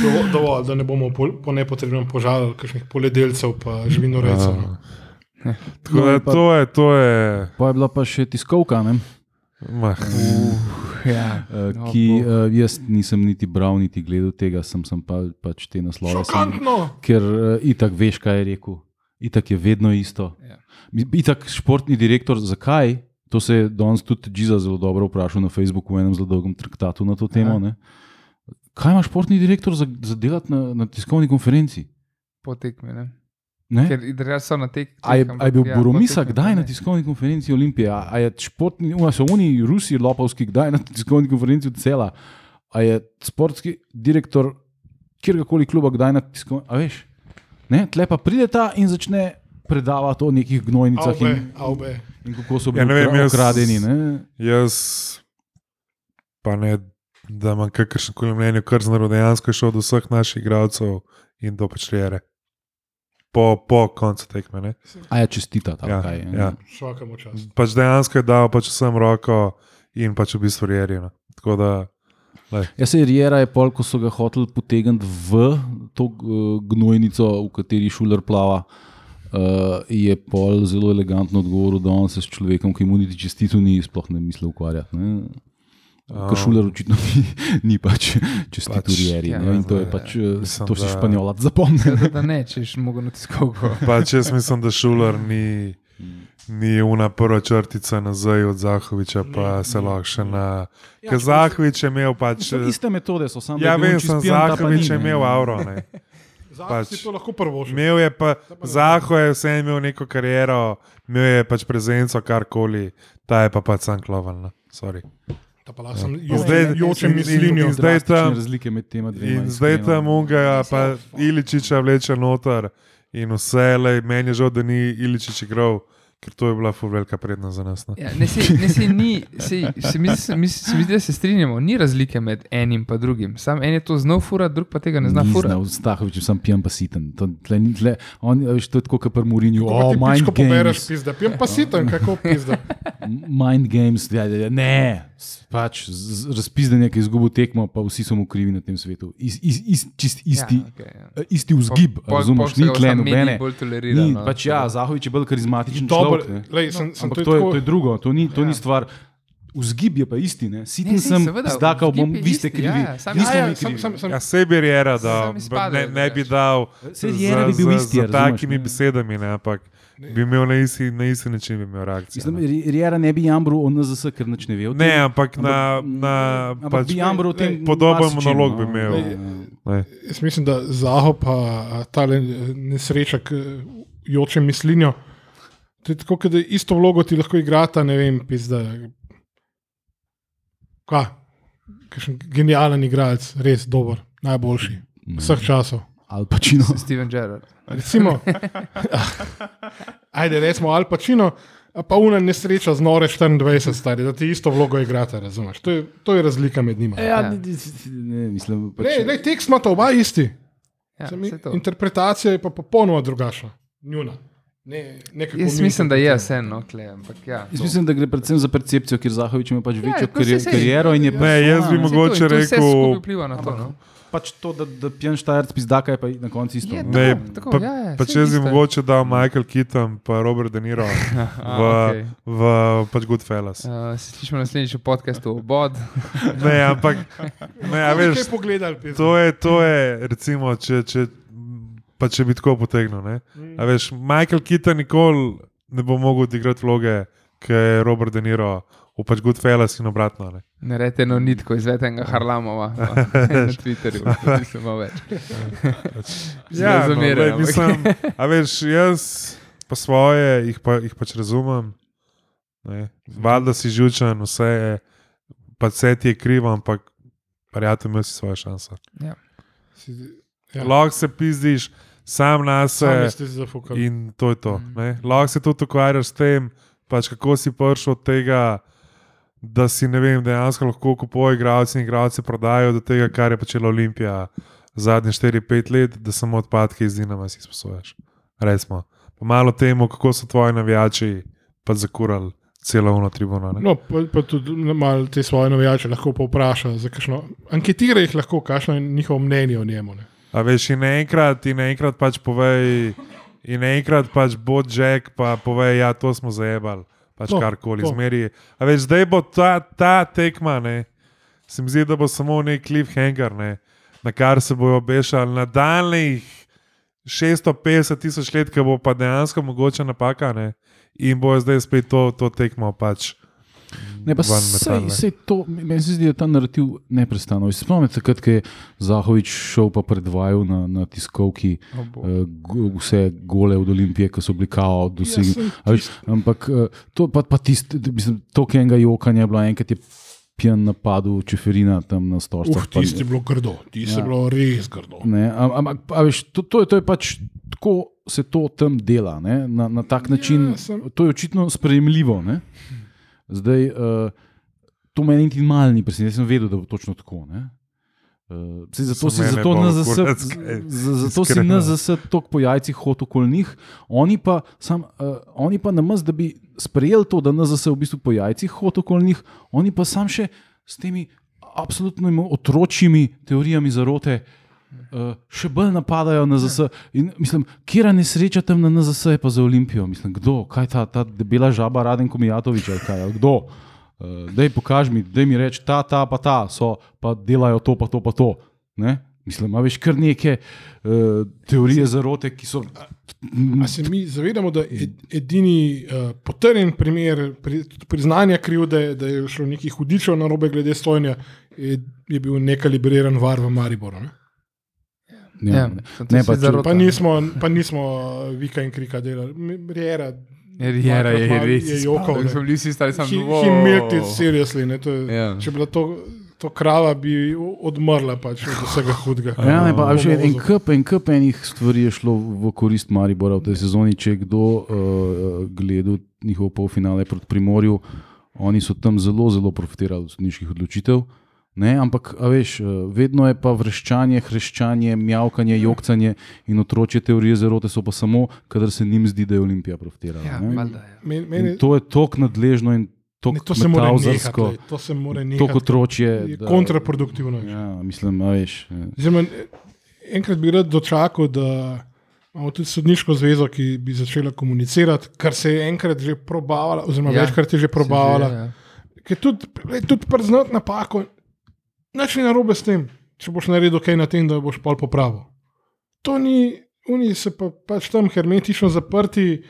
Dovo- ja, Dovolj, da ne bomo po, po nepotrebnem požarili kakšnih poljedelcev in živinorejcev.
Ah,
no.
Tako da to je, to je,
Pa je bila pa še tiskovka, ne?
mah,
Ja,
Eh,
No,
ki
bo.
eh, jaz nisem niti bral, niti gledal tega, sem, sem pa, pač te naslove. sem-
Šokantno!
Ker eh, itak veš, kaj je rekel, itak je vedno isto.
Ja.
Mi- Itak športni direktor, zakaj? To se je danes tudi Džiza zelo dobro vprašal na Facebooku v enem zelo dolgem traktatu na to
Ja.
temo. Ne? Kaj ima športni direktor za, za delati na, na tiskovni konferenci?
potekme. Ne?
Ne?
Ker idrajo so na tek.
A je,
ampak
a je
ja,
bil ja, Boromisa
po tekmi pa
kdaj
ne.
na tiskovni konferenci Olimpije, a, a je športni, a so oni, Rusi, Lopovski, kdaj na tiskovni konferenci cela, a je športski direktor kjerkoli kluba, kdaj na tiskovni, a veš? Ne, tle pa pride ta in začne predavati o nekih gnojnicah
Avbe,
in,
avbe.
in kako so bili
Ja, ne vem,
ukra-
jaz-
ukradeni. Ne?
jaz pa ne, da imam kakršen koli mnenje, kar znaro dejansko je šel od vseh naših igralcev in do pečljere. Po, po koncu tekme. Ne?
A je čestita tam
Ja,
kaj. ne?
ja.
Šokamo čas.
Pač dejansko je dal pač vsem roko in pač v bistvu rjerjeno. Tako da,
Ja, se Riera je pol, ko so ga hoteli potegniti v to eh, gnojnico, v kateri šuler plava. Uh, je pol zelo elegantno odgovoril, da on se s človekom, ki mu niti čestitu ni, sploh ne misli ukvarjati. Ne? Ker šuler očitno ni, ni pač čestitu
Pač,
pač, Rieri.
ja,
Ja, in to je
ja,
pač,
mislim,
eh, to si
da- Ja,
španjolac zapomni.
Seveda, da ne, če si mogel na tiskovko.
pač jaz mislim, da šuler ni. Ni una prva črtica nazaj od Zahoviča, pa se lahko še na.
Ja,
Ker Zahovič je imel pač.
So iste metode so samo.
Ja, vem, sem Zahovič je imel avro. Ne.
Zakaj
Pač.
si to lahko prvo že?
Imel je pa, Zaho je vse imel neko kariero, imel je pač prezenco, karkoli, ta je pa pač sam kloven.
Ta pa lahko
Ja.
sem
No,
Zdaj-
jočem mislinijo.
zdaj tam-
Razlike med tema dvema.
In zdaj
iskreno.
tam unga, pa Iličiča vleče noter in vse, lej, meni je žal, da ni Iličič igral, ker to je bila ful velika prednost za nas. no. Ne.
Ja, ne, se, ne, se ni, se, se mi, se, mi, se mi zdi, da se strinjamo, ni razlike med enim in drugim. Sam en je to znal fura, drug pa tega ne zna
Ni
fura.
Znal, Stahovič je sam pijan pa siten. To, tle, ni- tle, on, a veš, to je tako, kot pri
Ko
Murinju.
pa
O,
ti
mind
pičko pobereš,
games.
pizda. Pijem pa sitem, kako pizda.
Mind games, ja, ja, ja, ne. s- Pač, z- z- razpizden je, ki je izgubil tekmo, pa vsi so mu krivi na tem svetu. Is, is, is, čist, isti,
Ja, okay, ja.
eh, isti vzgib,
Pol- pol-
razumeš,
pol se
ni
ga
tlen,
samo mediji
nobene.
bolj tolerira,
Ni,
no,
pač
tako eh, da.
ja, Zahovič je bolj karizmatičen
Dobro,
človek. ne.
lej, sem, sem
Ampak to je, to je
tako-
drugo, to ni, to ni stvar. Vzgib je pa isti, ne? siten
Ne, sej,
sem,
seveda,
zdakal
vzgib
bom,
je
vi
isti,
ste
ja,
krivi.
ja, sam-
vi
Ja,
ste
Ja,
mi
ja, sem,
krivi.
sem, sem.
Ja, sej bi rjera, da
Sam izpade,
ne, ne bi dal
Saj Riera bi bil isti, ja,
z, z
razumeš,
takimi
ne.
besedami, ne, ampak bi imel na isti, na isti način bi imel reakcijo.
Mislim,
ne.
Ri- Riera ne bi jambril o NZS, ker nič ne ve. o tem.
Ne, ampak na, na
Ampak bi jamral o tem.
Pač, podoben
marsičem,
monolog
no.
bi imel. Ne.
Jaz mislim, da Zaho pa ta nesreča, ki joče mislinjo. To je tako, kot da isto vlogo ti lahko igrata, ne vem, pizda. Kaj? Kakšen genijalen igralec, res dober, najboljši vseh časov.
Al Pacino.
Steven Gerrard.
Recimo, ajde, recimo Al Pacino, a pa una nesreča z Nore 24, stari, da ti isto vlogo igrata, razumeš? To je, to je razlika med njima.
Ja, ne, ne, mislim, pač,
Ne, ne, tekst imata oba isti.
Ja,
Samo
saj to.
interpretacija je pa popolnoma drugačna. Njuna. Ne, nekako
Jaz
mi
mislim, da je vseeno, kle, ampak ja.
Jaz mislim, da gre predvsem za percepcijo, ker Zahovič ima pač večjo
tako
kari
saj, sej.
kariero in je
Ne, jaz bi
persona,
Saj to,
mogoče
in to vse
rekel-
skupaj vpliva na to. No?
pač to, da, da pijan štajerc pizdaka je pa na koncu isto.
Je,
ne.
tako,
Ne,
tako,
pa-
ja, ja,
Pa
saj
če
isto
bi
je.
mogoče dal Michael Keaton in Robert De Niro
Aha,
v,
okej.
v pač Goodfellas.
Uh, se slišimo naslednjič v podkastu Obod.
Ne, ampak ne, a
Veš,
Ja, veš,
kaj pogledali, pizda.
to je, to je recimo, če, če, pa če bi tako potegnil. Ne? A veš, Michael Keaton nikoli ne bo mogel odigrati vloge, ki je Robert De Niro v pač Goodfellas in obratno. Ne?
Ne rete eno nitko iz vetenega Harlamova no. na Twitterju, da se malo več.
Ja, no,
Zmeraj,
glej,
ampak-
mislim, a veš, jaz pa svoje, jih, pa, jih pač razumem. ne. Valjda si žučen, vse je, pa vse ti je krivo, ampak prijatelj imaš svoje šanse.
Ja.
Ja. Lahko se pizdiš sam na
Sami
sebe
ste se zafukali.
in to je to.
Mm.
ne. Lahko se tudi ukvarjaš s tem, pač kako si prišel od tega, da si ne vem, dejansko lahko kupuje igralce in igralce prodajo do tega, kar je počela Olimpija zadnje 4-5 let, da samo odpadke iz Dinama si sposojaš. Resmo. Pa malo temu, kako so tvoji navijači pa zakurali celo uno tribuno. Ne?
No, pa, pa tudi malo te svoje novijače lahko povpraša, za kakšno- anketira jih lahko, kakšno je njihovo mnenje o njemu. Ne.
A veš, in enkrat, in enkrat pač povej, in enkrat pač bo Jack, pa povej, ja, to smo zajebali, pač
To,
karkoli,
to.
zmeri. A veš, zdaj bo ta, ta tekma, ne, se mi zdi, da bo samo nek cliffhanger, ne, na kar se bojo obešali nadaljnih 650 tisoč let, ki bo pa dejansko mogoče napaka, ne, in bojo zdaj spet to, to tekmo pač.
Ne, pa
ven
sej,
metali, ne.
sej to, meni se zdi, da je ta narativ neprestano. Jaz se Spomnim se takrat, ko je Zahovič šel pa predvajal na, na tiskovki
O bog.
eh, go- vse gole od Olimpije, ki so bili kao dosegli.
saj
A veš, Ampak eh, to pa, pa tisto, mislim, to, ki enega jokanja je bilo, enkrat je pijan napadel Čeferina tam na stolcu.
Uf, Uh, tisti je bilo grdo, tisti je
Ja.
bilo res grdo.
Mm.
Ne, am- ampak, a veš, to, to, je, to je pač tako se to tam dela, ne, na, na tak način.
Ja, sem-
To je očitno sprejemljivo. Ne. Zdaj, uh, to meni niti malo ni presenečenje, jaz sem vedel, da bo točno tako. ne. Uh, saj zato si,
Za mene
zato
bo
NZS,
kurac,
z-
kaj,
z- zato si
iskreno.
NZS toliko po jajcih hodil okoli njih, oni pa, sam, uh, oni pa na mest, da bi sprejeli to, da NZS v bistvu po jajcih hodil okoli njih, oni pa sam še s temi absolutno otročjimi teorijami zarote uh, še bolj napadajo na ZS. In, mislim, kje je nesreča tam na ZS, je pa za Olimpijo. Mislim, kdo, kaj ta, ta debela žaba, Raden Komijatovič ali kaj, ali kdo. Uh, dej pokaž mi, dej mi reči, ta, ta, pa ta so, pa delajo to, pa to, pa to. Ne? Mislim, ima veš kar neke uh, teorije zarote, ki so.
A se mi zavedamo, da je edini uh, potrjen primer pri, priznanja krivde, da je šlo nekih hudičev na robe glede stojanja, je, je bil nekalibriran var v Mariboru. Ne?
Ja,
ne.
sem to
Ne,
si
pa če-
zarotal.
Pa nismo, pa nismo eh, vika in krika delali, Mi- Riera.
Riera je
Marko
res.
je
izpadel,
jokal, ne.
Smo bili vsi stari samo
He,
dva.
he milked it seriously. Ne, to je,
Ja.
yeah. Če bi bila to, to krava, bi o- odmrla pač, od vsega hudega.
Ja, ne, pa, a veš, en, en,
Pomozu.
kup, en kup enih stvari je šlo v korist Maribora v tej sezoni. Če je kdo uh, gledal njihov polfinale proti Primorju, oni so tam zelo, zelo profitirali od sodniških odločitev. Ne, ampak, a veš, eh, vedno je pa vreščanje, hreščanje, mjavkanje, jokcanje in otročje teorije zarote so pa samo, kadar se njim zdi, da je Olimpija profitirala.
Ja,
ne.
valjda, ja.
Meni,
In
meni,
to je tok nadležno in tok
ne, to se mora nehati.
metavzarsko,
glej, To se mora
tok
nehati.
otročje.
Je
da-
kontraproduktivno. Ja.
Ja, mislim, a veš. eh.
Zdaj, enkrat bi rad dočakal, da imamo tudi sodniško zvezo, ki bi začela komunicirati, kar se je enkrat že probavala, oziroma ja,
Ja,
večkrat je že probavala. Ker tudi, glej, tudi priznati napako, nič ni narobe s tem, če boš naredil kaj na tem, da boš pol popravil. To ni, oni so pa, pač tam hermetično zaprti.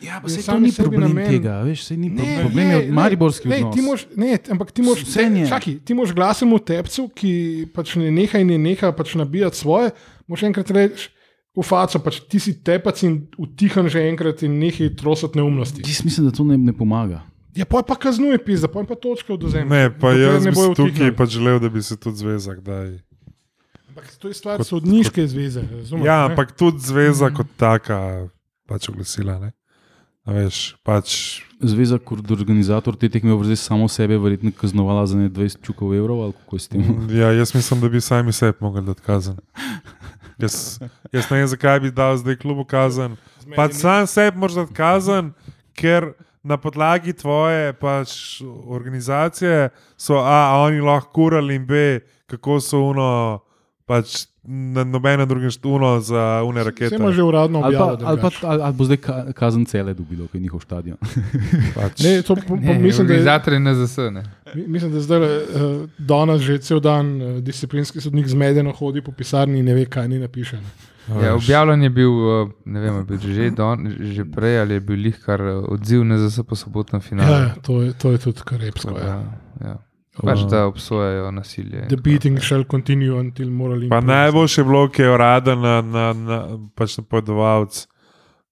Ja,
pa saj to ni problem tega,
veš, sej ni
Ne,
No, problem
ne,
je mariborski
ne, ne,
odnos.
ti moš, ne, ampak ti moš,
Vse nje.
čaki, ti moš glasen v tepcu, ki pač ne neha in ne neha pač nabijati svoje, moš enkrat reči v faco, pač ti si tepac in utihan že enkrat in nehaj trosati neumnosti.
Jaz mislim, da to ne, ne pomaga.
Ja, pa pa kaznuje pizda, pa pa točka od zemlje.
Ne, pa
Dokler
jaz
ne
bi
bojo
si tukaj
utihnili.
pač želel, da bi se tudi zvezak daj.
Ampak to je stvar sodniške zveze, razumeš?
Ja,
ne?
ampak tudi zveza kot taka pač oglasila. Ne? A Veš, pač,
Zveza kot organizator te tekme bo zdaj samo sebe verjetno kaznovala za ne 20 čukov evrov ali kako je s tem.
ja, jaz mislim, da bi sami sebi mogli dati kazen. Jaz, jaz ne vem, zakaj bi dal zdaj klubu kazen. Pa sam sebi moraš dati kazen, ker na podlagi tvoje pač organizacije so A, a oni lahko kurali in B, kako so uno pač na nobenem drugem štuno za une rakete.
Vse ima že uradno
Ali pa,
objavljeno.
ali, pa, ali, ali bo zdaj ka- kazen cele dobilo, ki je njihov stadion.
pač.
Ne, to, po, po,
Ne,
mislim, da je,
Organizatorji ne zasene.
mi- mislim, da zdaj uh, danes že cel dan uh, disciplinski sodnik zmedeno hodi po pisarni in ne ve, kaj ni napiše. Ne.
Ja, objavljen je bil, eh, ne vem, a je bil že, don, že prej ali je bil lih kar eh, odziv na zase po sobotnem
Ja, ja,
finalu.
to, je, to je tudi kar repsko.
Tako
Ja.
da, ja. Pač da obsojajo nasilje. in
The
tako
beating shall continue until morally.
Pa najboljše je bilo, ki je uraden na, na, na, pač napovedovalec,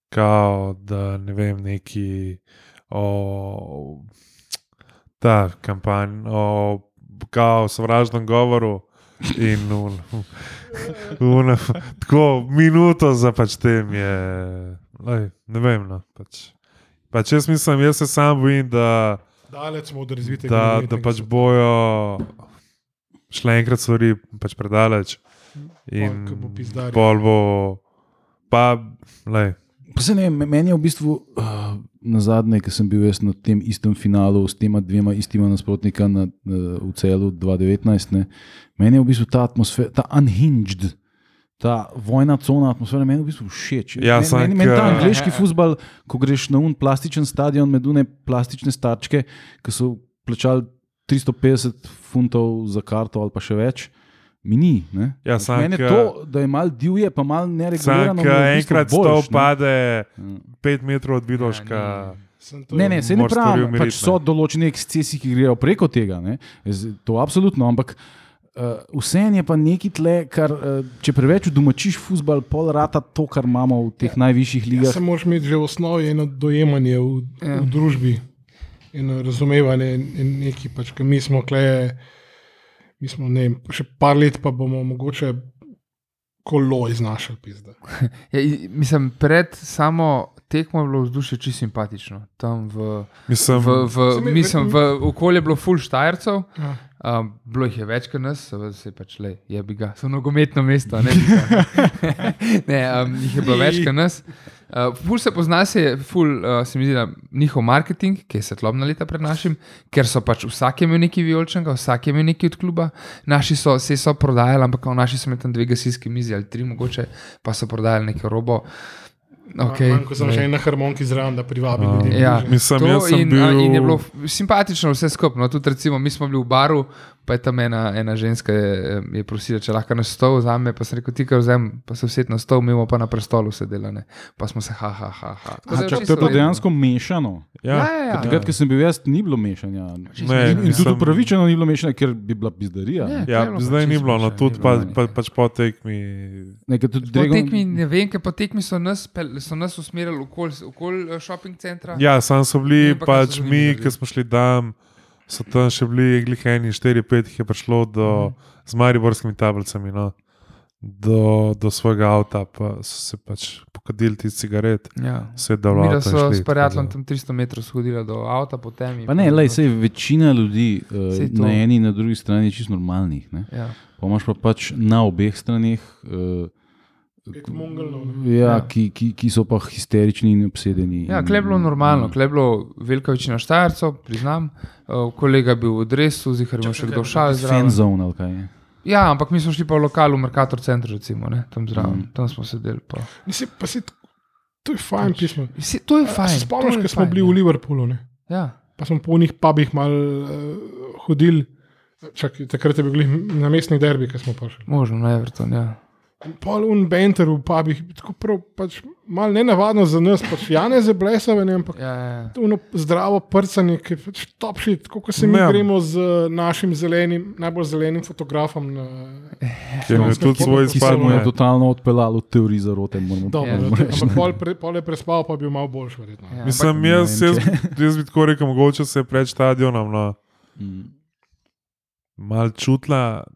kao da ne vem, neki o ta kampanj, o kao sovražnem govoru. In un, un, tako minuto za pač tem je, lej, ne vem. No, pač. pač jaz mislim, jaz se sam bojim, da
Daleč smo od razvitega.
da, da
nogometnega
pač
sveta.
bojo šle enkrat stvari pač predaleč. In
ko bo pizdaril.
pol bo, pa, lej,
Pa saj Ne, me- meni je v bistvu uh, na zadnje, ki sem bil jaz na tem istem finalu s tema dvema istima nasprotnika na, uh, v celu 2019, ne, meni je v bistvu ta atmosfera, ta unhinged. Ta vojna cona, atmosfera, meni je v bistvu všeč.
Ja,
meni,
samo
meni,
k-
meni ta angliški futbol, ko greš na un plastičen stadion, med une plastične starčke, ki so plačali 350 funtov za karto ali pa še več, mi ni. ne.
Ja, samo
meni je
k-
to, da je mal divje, pa mal neregulirano. mi je
sank
v bistvu
enkrat
boljš,
stol
ne.
pade
Ja.
pet metrov od Vidoška.
Sem to-
Ne, ne, se ne
moraš stvari
pravi,
umiriti,
pač so
ne.
določeni ekscesi, ki grejo preko tega. Ne? Z- To absolutno, ampak uh, vseeno je pa neki tle, kar uh, če preveč domačiš fusbal, pol rata to, kar imamo v teh ja. najvišjih
Ja, se
ligah.
moraš imeti že v osnovi eno dojemanje v, ja. v družbi in razumevanje in- in neki pač, ki mi smo kleje, mi smo ne, vem, še par let pa bomo mogoče kolo iznašali. Pizda.
Ja, i- mislim, pred samo tekmo je bilo vzdušje čisto simpatično. Tam v,
Mislim,
v, v,
Se mi-
mislim, v okolju je bilo full štajercev,
Ja.
um, bilo jih je več kot nas, seveda se pač le, je bi ga, so nogometno mesto, a ne bi ga. ne, um, jih je bilo več kot nas. Uh, ful se pozna, se je ful, uh, se mi zdi, da njihov marketing, ki je svetlobna leta pred našim, ker so pač vsak je imel neki vijolčenka, vsak je imel neki od kluba, naši so se so prodajali, ampak kao, naši so imeli tam dve gasilski mizi ali tri mogoče, pa so prodajali neko robo. Okay,
Ko sem še na harmoniki zraven, da privabi ljudi.
Ja,
bliže.
Mislim,
to
jaz sem
in, a, in je
bil-
bilo f- simpatično vse skupaj. No, tudi recimo, mi smo bili v baru, pa je tam ena, ena ženska, je, em, je prosila, če lahko na stol vzame, pa sem rekel, ti kar vzem, pa se vse na stol, mi bomo pa na prestolu sedeli, ne. pa smo se ha, ha, ha. ha. Tako da je
Čak,
čisto
to je pa
redno.
dejansko mešano.
Ja,
ja,
ja, ja.
Takrat, ko sem bil jaz, ni bilo mešanja.
ne,
In, in
mislim,
tudi upravičeno ni bilo mešanja, ker bi bila pizdarija.
Ne.
Ne.
Ja,
Ne, bilo pa
zdaj ni
čisto
bilo, no,
še,
tudi
ni
pa,
bilo, ne.
pa, pač po tekmi.
Ne, ker tudi
Po
Dragon-
tekmi, ne vem, ker po tekmi so nas, pel- so nas usmerili okoli okol eh, šoping centra.
Ja, sam so bili,
Ne, pa kaj so
pač
z njimi
mi,
naredili?
ki smo šli tam, so tam še bili gliheni, 4-5 jih je prišlo do,
Mhm.
z mariborskimi tablicami, no, do, do svojega avta, pa so se pač pokadili ti cigaret,
ja.
se je dalo.
Mi da so s prijateljem tam 300 metrov shodili do avta, potem je
Pa ne, lej, sej, večina ljudi
Saj
uh,
to.
na eni in na drugi strani je čisto normalnih. Ne?
Ja.
Pa imaš pa pač na obeh straneh. Uh,
Pet Mongolov, no. ne.
Ja,
Ja.
ki, ki, ki so pa histerični in obsedeni.
Ja,
in-
klej je bilo normalno, klej je bilo velika večina štajercev, priznam. Uh, kolega je bil v dresu, zihar je imel še kdo šal
Fan
zraven.
zone ali kaj je.
Ja, ampak mi smo šli pa v lokalu, v Mercator centru, recimo, ne, tam zraven, tam smo sedeli. Pa.
Mislim, pa si, to je fajn pismo.
Vsi, to je fajn.
Se spomniš,
to je
ko smo
fajn,
bili v Liverpoolu, ne?
Ja,
pa smo po njih pubih mal uh, hodili. Čak, takrat je bil glih na mestni derbi, ki smo prišli.
možno na Everton, ja.
Pol unbenter v pubih, tako prav, pač malo nenavadno za nas, pač Jane za blesave, ne, ampak
ja, ja, ja.
ono zdravo prcanje, ki je pač topši, tako kot se mi
Ja.
ja. gremo z eh, našim zelenim, najbolj zelenim fotografom. Na,
Ja, Ker je
Slovenska
tudi svoj
Ki so
Ki se
izpad.
mu je
ne.
totalno odpeljalo od teorij zarote. moramo
dobro,
Ja.
ja,
reči.
ampak pol, pre, pol je prespal, pa je bil malo boljši, verjetno.
ja.
Ja.
Mislim,
ne
jaz,
vem,
jaz, jaz bi tako rekel, mogoče se je pred stadionom no,
Mm.
mal čutila,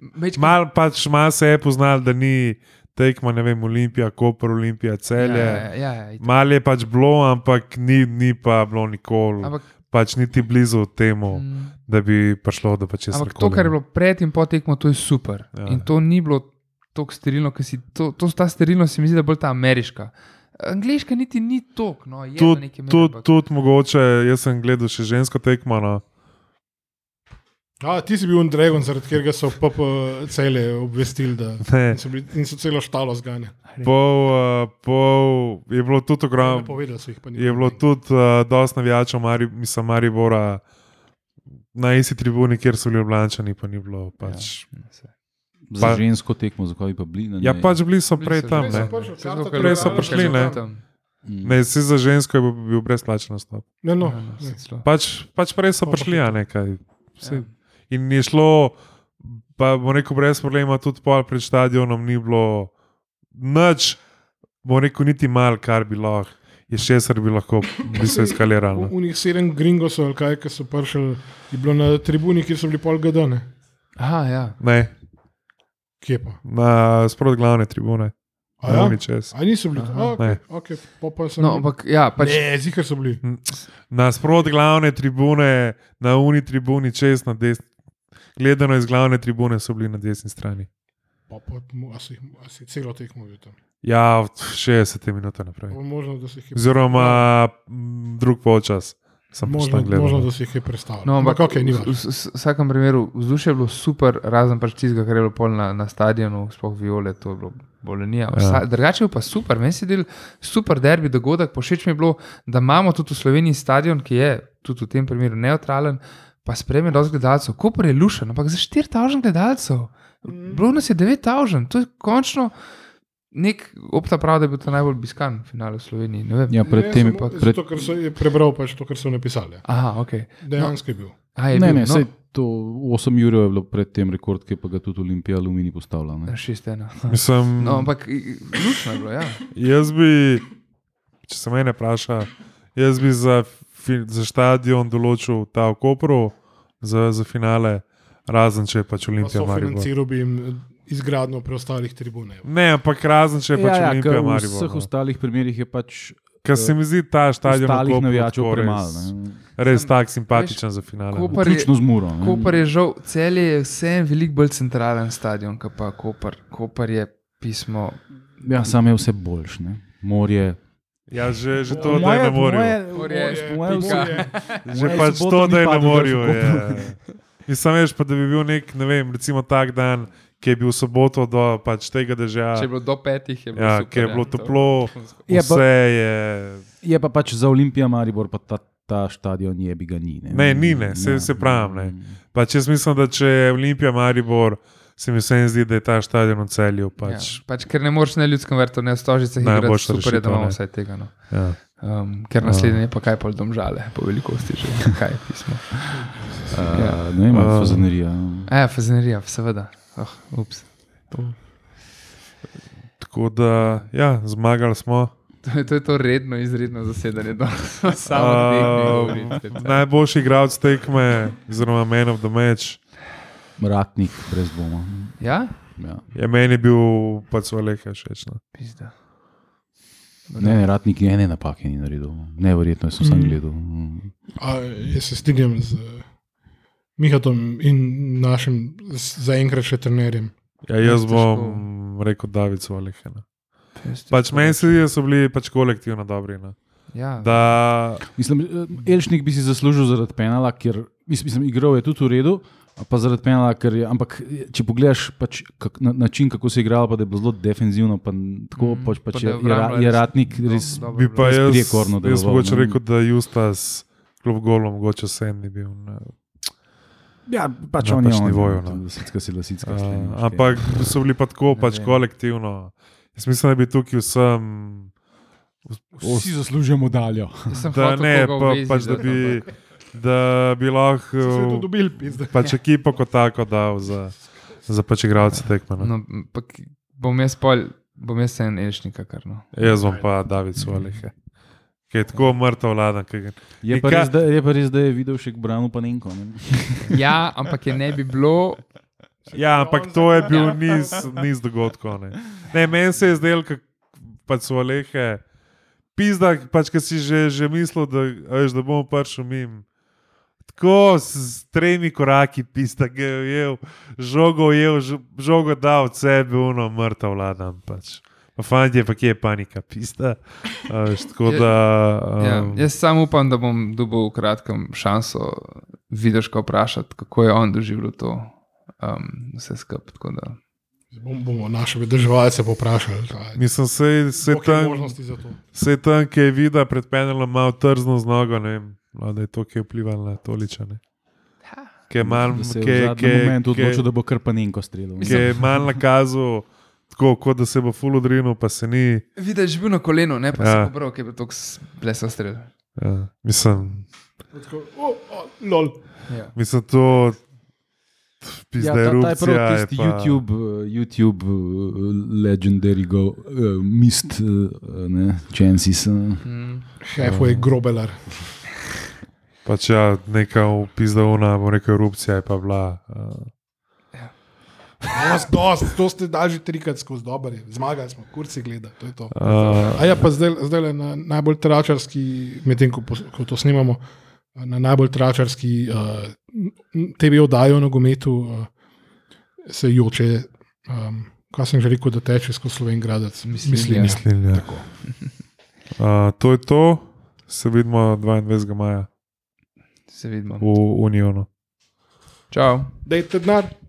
Ampak, mal,
mal pač mal se je poznal, da ni tekma, ne vem, Olimpija, Koper,
ja,
Olimpija, Celje.
ja, ja, ja, itak.
Mal je pač bilo, ampak ni, ni pa bilo nikoli.
ampak,
pač niti blizu temu,
mm,
da bi prišlo do pač česa.
ampak to, kar je bilo pred in po tekmo, to je super.
Ja.
Ja. In to ni bilo tako sterilno, ker si to, to, ta sterilnost se mi zdi, da je bolj ta ameriška. Angliška niti ni tok, no, je na
Tudi
neki meri,
tud,
ampak-
tud mogoče, jaz sem gledal še žensko tekmo, no.
A, ti si bil Dragon, zaradi katerega so PP cele obvestili, da in
Ne,
so, bili, in so celo štalo zganjali.
pol, uh, pol je bilo
Ne
tudi ogromno.
povedali so jih pa ni.
Ja. Je bilo tudi uh, dosta navijačev, Mari, mislim, Maribora na isti tribuni, kjer so ljubljančani, pa ni bilo. Pač.
Za
Pa-
žensko tekmo, zakaj bi pa bili na
Ja,
njej?
pač bili so prej tam.
so
Ne,
prišli,
Prej so prišli, ne.
Mm.
ne si za žensko je bil- bil brezplačen nastop.
Ne, no, ne.
No,
Pač, pač prej so
Pa
prišli,
pa
a nekaj. Ja. In je šlo, pa bom rekel, brez problema, tudi pol pred stadionom ni bilo nič, bom rekel, niti mal, kar bi lahko, je šesar bi lahko, bi se
V
eskaliralo.
unih sedem gringosov, ali kaj, ki so prišli, je bilo na tribuni, kjer so bili pol gadone.
Aha, ja.
Ne,
Kje pa?
na sprot glavne tribune,
A, ja?
ne čez.
A niso bili?
Aha.
A, okay,
Ne.
okay. Pa pa sem.
No, ampak, ja, pač,
Ne, zihar so bili.
Na sprot glavne tribune, na uni tribuni čez, na desni. Gledano iz glavne tribune so bili na desni strani.
Pa pa, mu- a si, a si celo tekmo bil tam.
Ja, od 60 minut naprej.
Pa Možno, da si jih je Ja.
Oziroma, m, drug polčas sem pač
Možno,
tam gledal.
možno, da si jih je predstavljal.
No, ampak,
okay, ni
v,
važno.
v, v vsakem primeru vzdušje je bilo super, razen pač tistega, kar je bilo pol na, na stadionu, sploh viole, to je bilo bolenija. Ja. Drugače je bil pa super, meni se je del super derbi dogodek, pošeč mi je bilo, da imamo tudi v Sloveniji stadion, ki je tudi v tem primeru neutralen, pa sprejme dosti gledalcev. Koper je lušen, ampak za 4000 gledalcev, bilo nas je 9000, to je končno. Nek opta pravi, da je bil to najbolj biskan finale v Sloveniji. ne vem.
Ja, pred
Ne,
tem,
samo
pred,
Zato, ker so je prebral pač to, kar so napisali. ja.
Aha, ok.
Dejansko je bil.
A, je
ne,
bil,
ne,
no,
sej to 8 jurjev je bilo pred tem rekord, ki pa ga tudi Olimpija Alumini postavlja.
Ja,
ne.
6-1.
Mislim,
No, ampak i- i- lušno je bilo, ja.
jaz bi, če se mene vpraša, jaz bi za, fi- za stadion določil ta v Kopru, za, za finale, razen če je pač
Pa
Olimpija Maribor.
Sofinanciral bi jim izgradno preostalih tribun. evo.
Ne, ampak razen če je pač ja, Olimpija
ker
ja,
v
Maribor.
vseh
no.
ostalih primerih je pač
Ker se mi zdi ta stadion
ostalih
Kopru
navijačev
tako
premalo.
Res,
ne.
res tako simpatičen za finale. no.
Koper- Par je-
Vključno z muro. ne.
Koper je žal, cel je vsem veliko bolj centralen stadion, kot pa Koper. Koper je pismo.
Ja, sam je vse boljš. Ne? Morje.
Ja, že, že to, da je na morju.
Morje,
Že
Moje
pač
soboto
to,
ni
da je na
padlo, da
morju.
so kupili.
Nisem veš, pa da bi bil nek, ne vem, recimo tak dan, ki je bil soboto do pač tega
Če je
dežja,
bilo do petih, je bilo,
ja,
super,
ki je bilo
to- pač.
toplo,
Je pa-
vse je.
Je pa pač za Olimpijo Maribor pa ta, ta stadion je bi ga ni. Ne, Ja.
Ne, ni, ne, se- se pravim, ne. Pač jaz mislim, da če je Olimpija Maribor, se mi vsem zdi, da je ta stadion v celju. Pač,
Ja, pač, ker ne moreš na ljudskem vrtu, ne v stožicah, igrati,
Najboljša
super je, da
rešitev,
imamo
ne.
vsaj tega. No.
ja.
Um, ker naslednji je pa kaj pol domžale, po velikosti že, kaj pismo.
Uh, ne vem,
Ja.
fazanerija.
A ja, fazenerija, seveda. Oh, ups. To,
Tako da, ja, zmagali smo.
to, je- to je to redno, izredno zasedanje, da smo samo
Uh, najboljši igralec tekme, zelo man of the match.
Ratnik brez dvoma.
Ja,
Ja.
Ja, meni je bil pač Oleh všeč. no.
pizda.
Ne, ne, ratnik je ene napake ni naredil. Neverjetno jaz sem sam gledal. Mm.
A, jaz se strinjam z eh, Mihatom in našim z- zaenkrat še trenerjem.
Ja, jaz
Težko.
bom rekel David Solehena. Pač meni se zdi, da so bili pač kolektivno dobri. No.
Ja,
Da,
Mislim, eh, Elšnik bi si zaslužil zaradi penala, ker mislim, mislim, igral je tudi v redu, a pa zaradi penala, ker je, ampak eh, če pogledaš pač, kak, na, način, kako se je igral, pa da je bilo zelo defenzivno, pa n- tako
Mm,
mm, pač,
pa
pač
da
je,
je
je, ra-
obramba
je
res
ratnik
do-
res.
dobro
bi pa
bila.
Res
jaz,
no,
priekorno
jaz
deloval,
mogoče
ne.
rekel, da Justas kljub golom, mogoče sem ni bil. Ne.
Ja, pač
Na
on je
pač
on,
nivoju,
ne,
no.
Lasicka si
Pač
lasicka.
Uh,
saj ne boš
ampak so bili pa tako
Ne
pač
vem.
kolektivno. Jaz mislim, da bi tukaj vsem,
kaj. Vsi zaslužimo daljo.
Jaz sem
da
hotel
ne,
koga
pa,
uveziti,
pač da bi, da
Saj so
bi
jo
lahko
tudi dobili, pizda.
pač ekipo kot tako dal za, za pač igralce tekme. No.
No, m, pa k- bom jaz pol, bom jaz en elšnik, kar no.
Jaz bom pa David Solehena, ki je tako mrtev vladan, ki ga
Je
In
pa,
kaj-
res, da, je pa res, da je videl še Branu Panenko. Ne?
Ja, ampak je ne bi bilo.
Ja, ampak to je bil niz, niz dogodkov. Ne. Ne, meni se je zdelo, da pač so lehe. Pizda, pač, ki si že, že mislil, da, a veš, da bomo prišli mim. Tako s s tremi koraki, pizda, ki je ujel, žogo ujel, ž- žogo dal od sebe, uno, mrtev vladam. Pač. Pa fantje, pa kje je panika, pizda. A Veš, tako
Ja,
da.
Ja,
Um,
jaz samo upam, da bom dobil v kratkem šanso vidiš, ko vprašati, kako je on doživljal to um, vse skupaj. tako da.
Bom, bomo naše državljalce povprašali, kaj
Mislim, se, se
so
tam,
možnosti za to.
se tam, ki je videl pred penelom, malo trzno z nogo, ne vem, no, da je to, ki je vplivalo na toličane. Ki je malo,
da se
ki
je
je,
v
ki
zadnjem
je,
momentu
ki je,
odločil, da bo krpanenko streljal.
ki je malo nakazal, tako kot da se bo full odrinil, pa se ni.
Vidiš, bil na kolenu, ne pa
Ja.
ja. se pobral, ki je bil tako plesal strel.
Ja, mislim,
Tako, o, o, lol.
Ja.
mislim to.
ja,
Pizda
ta, ta je
erupcija
prav
je
tisti
pa-
YouTube, eh, YouTube uh, legendary go, uh, mist, uh, ne, chances. Uh.
Mm.
Šefo je grobelar.
Pač ja, neka upizdavna, bo neka erupcija je pa bila. Uh,
Dost, dost, "No, to ste dali že trikrat skozi dober. je. Zmagali smo, kurci gleda. To je to.
uh,
A ja, pa zdaj, zdaj le na najbolj tračarski, medtem ko, pos- ko to snimamo, na najbolj tračarski uh, TV oddajo o nogometu uh, se joče, um, kaj sem že rekel, da teče skozi Sloven Gradec.
Mislim,
Mislim,
ja.
mislim.
mislim, ja. uh, to je to, se vidimo 22. maja
Se vidimo.
v Unionu.
Čau.
Dajte denar.